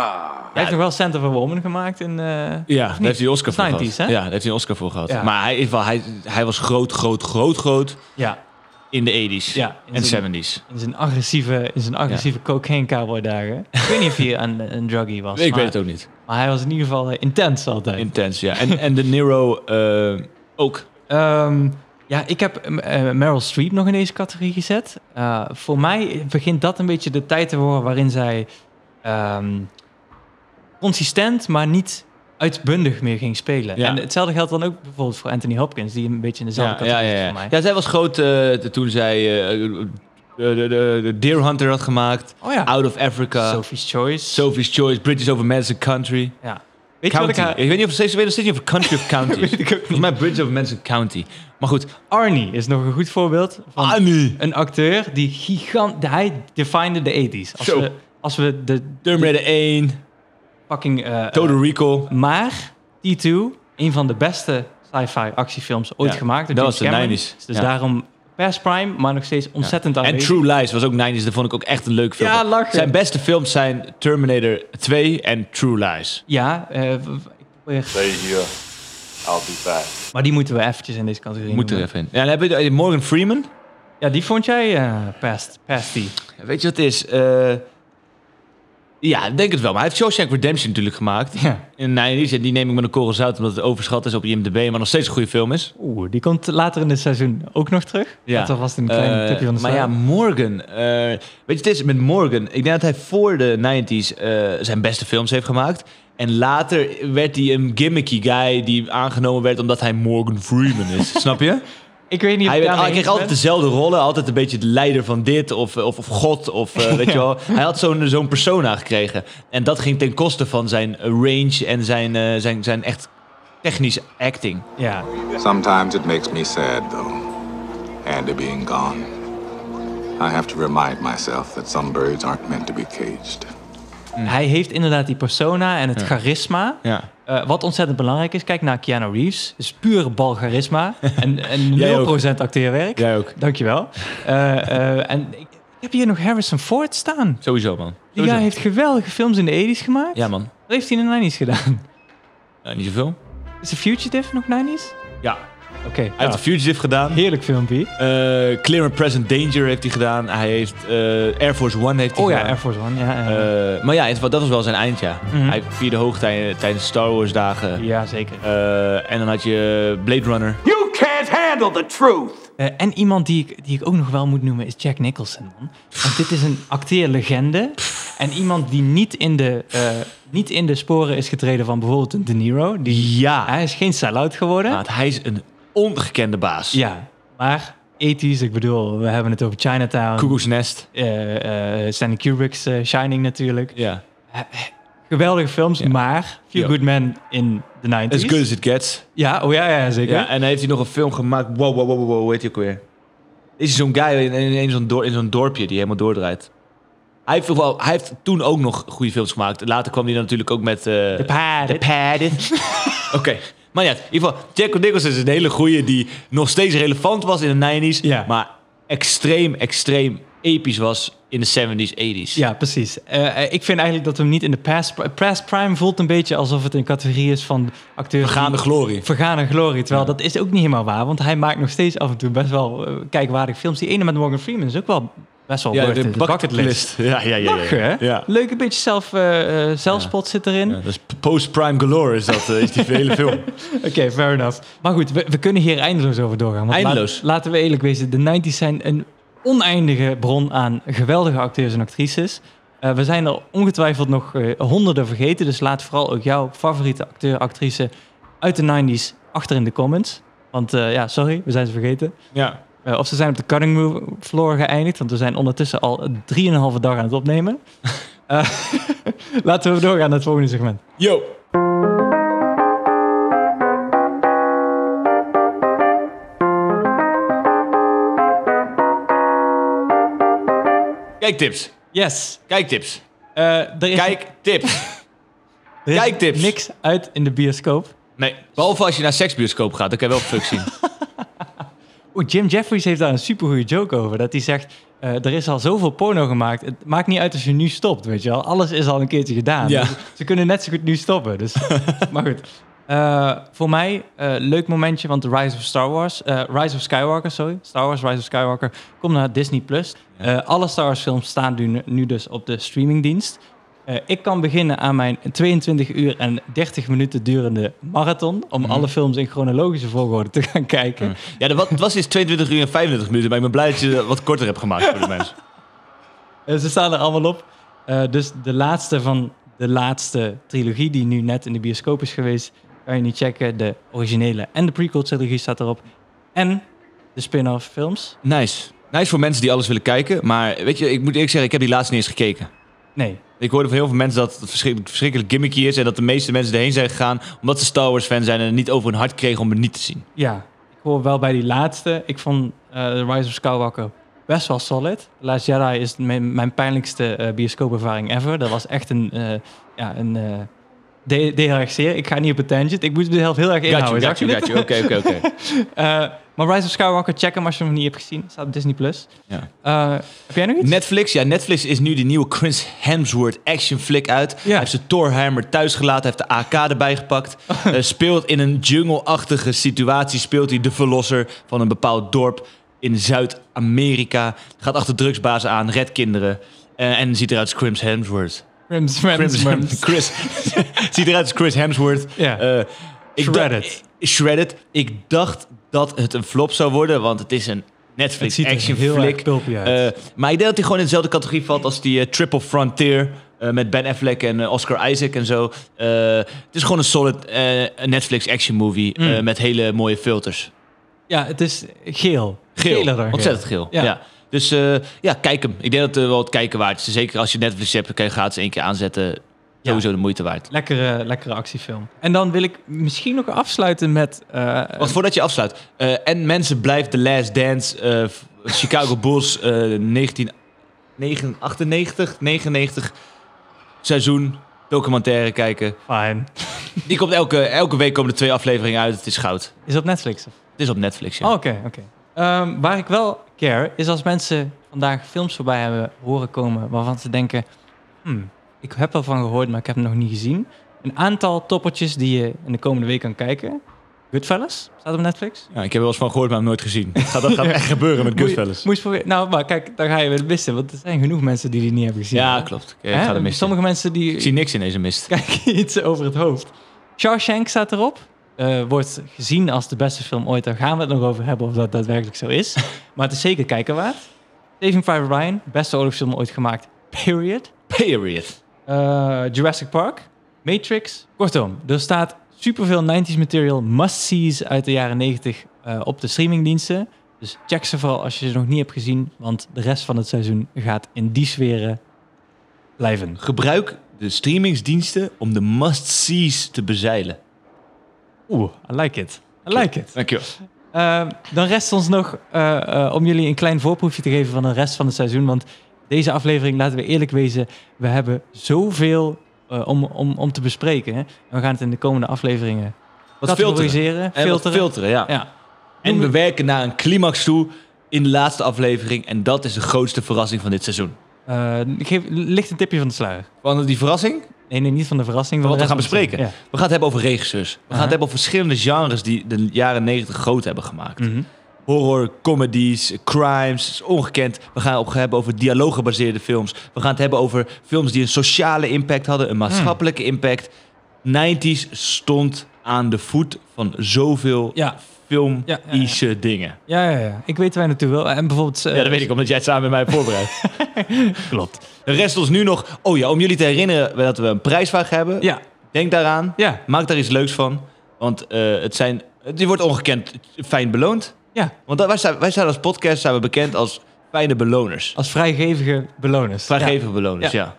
S2: heeft nog wel Center for Woman gemaakt in... eh,
S1: Ja,
S2: of
S1: daar
S2: niet?
S1: heeft hij een Oscar voor
S2: 90s,
S1: gehad.
S2: hè?
S1: Ja, daar heeft hij een Oscar voor gehad.
S2: Ja.
S1: Maar hij, is wel, hij, hij was groot, groot, groot, groot
S2: Ja.
S1: in de 80s
S2: Ja, in
S1: en
S2: zijn-
S1: 70s.
S2: In zijn agressieve, in zijn agressieve cocaine cowboy dagen. Ik weet niet of hij een, een druggie was.
S1: Ik
S2: maar-
S1: weet het ook niet.
S2: Maar hij was in ieder geval eh, intens altijd.
S1: Intens, ja. En, en de Niro eh, ook.
S2: Ehm, ja, ik heb eh, Meryl Streep nog in deze categorie gezet. Eh, voor mij begint dat een beetje de tijd te worden waarin zij ehm, consistent, maar niet uitbundig meer ging spelen.
S1: Ja.
S2: En hetzelfde geldt dan ook bijvoorbeeld voor Anthony Hopkins, die een beetje in dezelfde
S1: ja,
S2: categorie
S1: ja,
S2: is
S1: ja.
S2: voor mij.
S1: ja, zij was groot eh, toen zij eh, de, de, de, de Deer Hunter had gemaakt.
S2: Oh ja.
S1: Out of Africa.
S2: Sophie's Choice.
S1: Sophie's Choice, Bridges over Madison Country.
S2: Ja.
S1: Weet
S2: Weet je wat ik haar-
S1: weet niet of ze weet of steeds niet of Country of County. Volgens mij Bridges over Madison County. Maar goed,
S2: Arnie is nog een goed voorbeeld
S1: Ah,
S2: van een acteur die gigant... Hij defined de 80s. Als
S1: Zo.
S2: we, als we de...
S1: Tomb Raider 1.
S2: Fucking... eh,
S1: Total Recall.
S2: Maar T2, een van de beste sci-fi actiefilms ooit
S1: Ja,
S2: gemaakt. door
S1: dat was
S2: James
S1: de
S2: Cameron.
S1: 90s,
S2: Dus
S1: ja.
S2: daarom past prime, maar nog steeds ontzettend
S1: En
S2: aanwezig.
S1: True Lies was ook 90s, dat vond ik ook echt een leuk film.
S2: Ja, lachen.
S1: Zijn beste films zijn Terminator 2 en True Lies.
S2: Ja, eh, w- w- ik probeer-
S1: hier. I'll be back.
S2: maar die moeten we eventjes in deze categorie
S1: Moet er
S2: noemen.
S1: even in. Ja, dan heb je de- Morgan Freeman.
S2: Ja, die vond jij eh past, past die.
S1: Weet je wat het is? Eh, ja, ik denk het wel. Maar hij heeft Shawshank Redemption natuurlijk gemaakt.
S2: Ja.
S1: In de 90s. En die neem ik met een korrel zout omdat het overschat is op IMDb. Maar nog steeds een goede film is.
S2: Oeh, die komt later in het seizoen ook nog terug.
S1: Ja.
S2: Dat was een klein
S1: Eh,
S2: tipje van de
S1: Maar ja,
S2: sluier.
S1: Morgan. eh, weet je, het is met Morgan. Ik denk dat hij voor de 90s eh, zijn beste films heeft gemaakt. En later werd hij een gimmicky guy die aangenomen werd omdat hij Morgan Freeman is. Snap je?
S2: Ik weet niet of
S1: Hij,
S2: ik
S1: werd,
S2: daarmee
S1: hij kreeg
S2: eens
S1: altijd
S2: ben.
S1: dezelfde rollen. Altijd een beetje de leider van dit of, of, of God. Of, eh, weet
S2: Ja.
S1: je wel. Hij had zo'n zo'n persona gekregen. En dat ging ten koste van zijn eh, range en zijn, eh, zijn, zijn echt technische acting.
S2: Ja.
S4: Sometimes it makes me sad, though. Andy being gone. I have to remind myself that some birds aren't meant to be caged.
S2: Hij heeft inderdaad die persona en het
S4: Ja.
S2: charisma.
S1: Ja.
S2: eh, wat ontzettend belangrijk is. Kijk naar Keanu Reeves. Het is pure bal charisma. en, en
S1: Jij ook.
S2: 0% acteerwerk.
S1: Jij ook.
S2: Dankjewel. Eh, eh, en ik, ik heb hier nog Harrison Ford staan.
S1: Sowieso, man.
S2: Die guy heeft geweldige films in de 80s gemaakt.
S1: Ja, man.
S2: Wat heeft hij in de 90s gedaan?
S1: Ja, niet zoveel.
S2: Is The Fugitive nog 90s?
S1: Ja.
S2: Oké.
S1: Hij heeft The Fugitive gedaan.
S2: Heerlijk filmpje.
S1: Eh, Clear and Present Danger heeft hij gedaan. Hij heeft eh, Air Force One heeft hij
S2: Oh ja,
S1: gedaan.
S2: Air Force One. Ja, ja.
S1: Eh, maar ja, het wa- dat was wel zijn eind, ja.
S2: Mhm.
S1: Hij vierde hoog tij- tijdens Star Wars dagen. Eh,
S2: Ja, zeker.
S1: en dan had je Blade Runner.
S24: You can't handle the truth!
S2: Eh, en iemand die ik, die ik ook nog wel moet noemen is Jack Nicholson. Man. Want dit is een acteerlegende. En iemand die niet in, de, eh, niet in de sporen is getreden van bijvoorbeeld een De Niro. Die,
S1: ja. Ah,
S2: Hij is geen sellout geworden.
S1: Want hij is een ongekende baas.
S2: Ja, maar 80s, ik bedoel, we hebben het over Chinatown.
S1: Koekoeks Nest.
S2: eh, eh, Stanley Kubrick's eh, Shining natuurlijk.
S1: Ja.
S2: Geweldige films, maar Few
S1: Ja.
S2: Good Men in de 90s.
S1: As good as it gets.
S2: Ja, oh ja, ja zeker.
S1: Ja, en dan heeft hij nog een film gemaakt. Wow, wow, wow, wow, wow, weet je ook weer. Is zo'n guy in, in, in zo'n dor- in zo'n dorpje die helemaal doordraait. Hij heeft, toch wel, hij heeft toen ook nog goede films gemaakt. Later kwam hij dan natuurlijk ook met... eh, de
S2: Padded.
S1: Oké. Maar ja, in ieder geval, Jack Nicholson is een hele goeie die nog steeds relevant was in de 90s. Maar extreem, extreem episch was in de 70s, 80s.
S2: Ja, precies. Eh, eh, ik vind eigenlijk dat we hem niet in de past, pri- past prime voelt een beetje alsof het een categorie is van acteurs.
S1: Vergaande
S2: die-
S1: glorie.
S2: Vergaande glorie. Terwijl dat is ook niet helemaal waar, want hij maakt nog steeds af en toe best wel eh, kijkwaardige films. Die ene met Morgan Freeman is ook wel best wel
S1: Ja,
S2: worth
S1: de
S2: it.
S1: bucketlist. Ja, ja, ja, ja,
S2: Lachen, hè?
S1: ja.
S2: Leuk, een beetje zelf, eh, eh, zelfspot zit erin.
S1: Dat is post-prime galore, is, dat, eh, is die hele film.
S2: Oké, fair enough. Maar goed, we, we kunnen hier eindeloos over doorgaan. want
S1: Eindeloos.
S2: laat- laten we eerlijk wezen, de 90s zijn een oneindige bron aan geweldige acteurs en actrices. Eh, we zijn er ongetwijfeld nog eh, honderden vergeten, dus laat vooral ook jouw favoriete acteur, actrice uit de 90s achter in de comments. Want eh, ja, sorry, we zijn ze vergeten.
S1: Ja.
S2: Eh, of ze zijn op de cutting room floor geëindigd, want we zijn ondertussen al drieënhalve dag aan het opnemen. Eh, laten we doorgaan naar het volgende segment.
S1: Yo! Kijktips.
S2: Yes. eh,
S1: Kijktips.
S2: er is
S1: Kijktips.
S2: Er is
S1: Kijktips.
S2: niks uit in de bioscoop.
S1: Nee, behalve als je naar seksbioscoop gaat, dan kan je wel fuck zien.
S2: Oeh, Jim Jeffries heeft daar een supergoeie joke over. Dat hij zegt, eh, er is al zoveel porno gemaakt. Het maakt niet uit als je nu stopt, weet je wel. Alles is al een keertje gedaan.
S1: Ja.
S2: Dus ze kunnen net zo goed nu stoppen. Dus, maar goed. Eh, voor mij, eh leuk momentje, want The Rise of Star Wars... eh, Rise of Skywalker, sorry. Star Wars Rise of Skywalker komt naar Disney+. Plus. alle Star Wars films staan nu, nu dus op de streamingdienst. Eh, ik kan beginnen aan mijn 22 uur en 30 minuten durende marathon... om alle films in chronologische volgorde te gaan kijken.
S1: Ja, dat wa- het was eens 22 uur en 25 minuten, maar ik ben blij dat je dat wat korter hebt gemaakt voor de mensen.
S2: Eh, ze staan er allemaal op. Eh, dus de laatste van de laatste trilogie, die nu net in de bioscoop is geweest, kan je nu checken. De originele en de prequel-trilogie staat erop. En de spin-off films.
S1: Nice. Nice voor mensen die alles willen kijken, maar weet je, ik moet eerlijk zeggen, ik heb die laatste niet eens gekeken.
S2: Nee.
S1: Ik hoorde van heel veel mensen dat het verschrik- verschrikkelijk gimmicky is en dat de meeste mensen erheen zijn gegaan omdat ze Star Wars fan zijn en het niet over hun hart kregen om het niet te zien.
S2: Ja, ik hoor wel bij die laatste. Ik vond eh The Rise of Skywalker best wel solid. The Last Jedi is mijn, mijn pijnlijkste eh, bioscoopervaring ever. Dat was echt een... eh, ja, een eh, deed deed heel erg zeer. Ik ga niet op een tangent. Ik moest mezelf heel erg
S1: Got you,
S2: inhouden.
S1: got
S2: zag
S1: you,
S2: je dit?
S1: got you. Oké, oké, oké.
S2: Eh, maar Rise of Skywalker, check hem als je hem nog niet hebt gezien. Het staat op Disney+. Plus.
S1: Ja.
S2: Eh, heb jij nog iets?
S1: Netflix, ja, Netflix is nu de nieuwe Chris Hemsworth actionflick uit. Hij heeft zijn Thorhammer thuis gelaten, hij heeft de AK erbij gepakt. Eh, speelt in een jungle-achtige situatie, speelt hij de verlosser van een bepaald dorp in Zuid-Amerika. Gaat achter drugsbazen aan, redt kinderen eh, en ziet eruit als Chris Hemsworth.
S2: Rims, rims, rims.
S1: Chris, ziet eruit als Chris Hemsworth.
S2: Ja.
S1: Eh, ik dacht-
S2: Shredded.
S1: eh, Shredded. Ik dacht dat het een flop zou worden, want het is een
S2: Het
S1: Netflix
S2: ziet er
S1: action
S2: heel erg
S1: flick.
S2: pulpy uit.
S1: Eh, maar ik denk dat hij gewoon in dezelfde categorie valt als die eh, Triple Frontier eh, met Ben Affleck en eh, Oscar Isaac en zo. Eh, het is gewoon een solid eh, Netflix action movie eh,
S2: Mm.
S1: met hele mooie filters.
S2: Ja, het is geel.
S1: Geel,
S2: Geler dan
S1: ontzettend geel. Ja. Dus eh, ja, kijk hem. Ik denk dat het wel het kijken waard is. Zeker als je Netflix hebt, dan kan je gratis één keer aanzetten. Sowieso de moeite waard.
S2: Lekkere, lekkere actiefilm. En dan wil ik misschien nog afsluiten met... eh,
S1: Want voordat je afsluit. eh, en mensen blijft The Last Dance. eh, f- Chicago Bulls eh 1998, 99 seizoen documentaire kijken.
S2: Fine.
S1: Die komt elke, elke week komen er twee afleveringen uit. Het is goud.
S2: Is op Netflix? Of?
S1: Het is op Netflix, ja.
S2: Oh, Oké, oké. Ehm, waar ik wel care is als mensen vandaag films voorbij hebben horen komen waarvan ze denken, hmm, ik heb wel van gehoord, maar ik heb hem nog niet gezien. Een aantal toppertjes die je in de komende week kan kijken. Goodfellas staat op Netflix.
S1: Ja, ik heb er wel eens van gehoord, maar hem nooit gezien. Gaat, dat gaat echt gebeuren met
S2: Moet je-
S1: Goodfellas.
S2: Moest proberen. Nou, maar kijk, daar ga je weer missen, want er zijn genoeg mensen die die niet hebben gezien.
S1: Ja,
S2: hè?
S1: klopt. Ik, eh,
S2: Hè?
S1: ga er mis in.
S2: Sommige mensen die
S1: Ik zie niks in deze mist.
S2: kijken iets over het hoofd. Shawshank staat erop. Eh, wordt gezien als de beste film ooit. Daar gaan we het nog over hebben of dat daadwerkelijk zo is. Maar het is zeker kijken waard. Saving Private Ryan, beste oorlogsfilm ooit gemaakt. Period.
S1: Period.
S2: Eh, Jurassic Park, Matrix. Kortom, er staat superveel 90s material must-sees uit de jaren 90 eh, op de streamingdiensten. Dus check ze vooral als je ze nog niet hebt gezien, want de rest van het seizoen gaat in die sferen blijven.
S1: Gebruik de streamingsdiensten om de must-sees te bezeilen.
S2: Oeh, I like it. I like it.
S1: Dankjewel.
S2: Eh, dan rest ons nog eh, eh, om jullie een klein voorproefje te geven van de rest van het seizoen. Want deze aflevering, laten we eerlijk wezen, we hebben zoveel eh, om, om, om te bespreken. hè. En we gaan het in de komende afleveringen
S1: Wat filteren.
S2: categoriseren,
S1: En wat
S2: filteren.
S1: filteren, ja.
S2: Ja.
S1: En we werken naar een climax toe in de laatste aflevering. En dat is de grootste verrassing van dit seizoen.
S2: Eh, ik geef licht een tipje van de sluier.
S1: Van die verrassing?
S2: Nee, nee, niet van de verrassing. van
S1: wat
S2: de
S1: we gaan
S2: rest van het
S1: bespreken. We gaan het hebben over regisseurs. We gaan het hebben over verschillende genres die de jaren 90 groot hebben gemaakt.
S2: Mhm.
S1: Horror, comedies, crimes, het is ongekend. We gaan het ook hebben over dialooggebaseerde films. We gaan het hebben over films die een sociale impact hadden, een maatschappelijke impact. 90s stond aan de voet van zoveel
S2: Ja.
S1: film
S2: Ja, ja,
S1: filmische dingen.
S2: Ja, ja, ja. Ik weet waar je naartoe wil. En bijvoorbeeld... eh,
S1: Ja, dat weet ik, omdat jij het samen met mij hebt voorbereid. Klopt. Er rest ons nu nog... Oh ja, om jullie te herinneren dat we een prijsvraag hebben.
S2: Ja.
S1: Denk daaraan.
S2: Ja.
S1: Maak daar iets leuks van. Want eh, het zijn... Je wordt ongekend fijn beloond.
S2: Ja.
S1: Want dat- wij, zijn, wij zijn als podcast zijn we bekend als fijne beloners.
S2: Als vrijgevige beloners.
S1: Vrijgevige beloners, ja.
S2: 100%.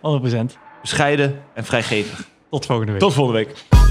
S1: Bescheiden en vrijgevig.
S2: Tot volgende week.
S1: Tot volgende week.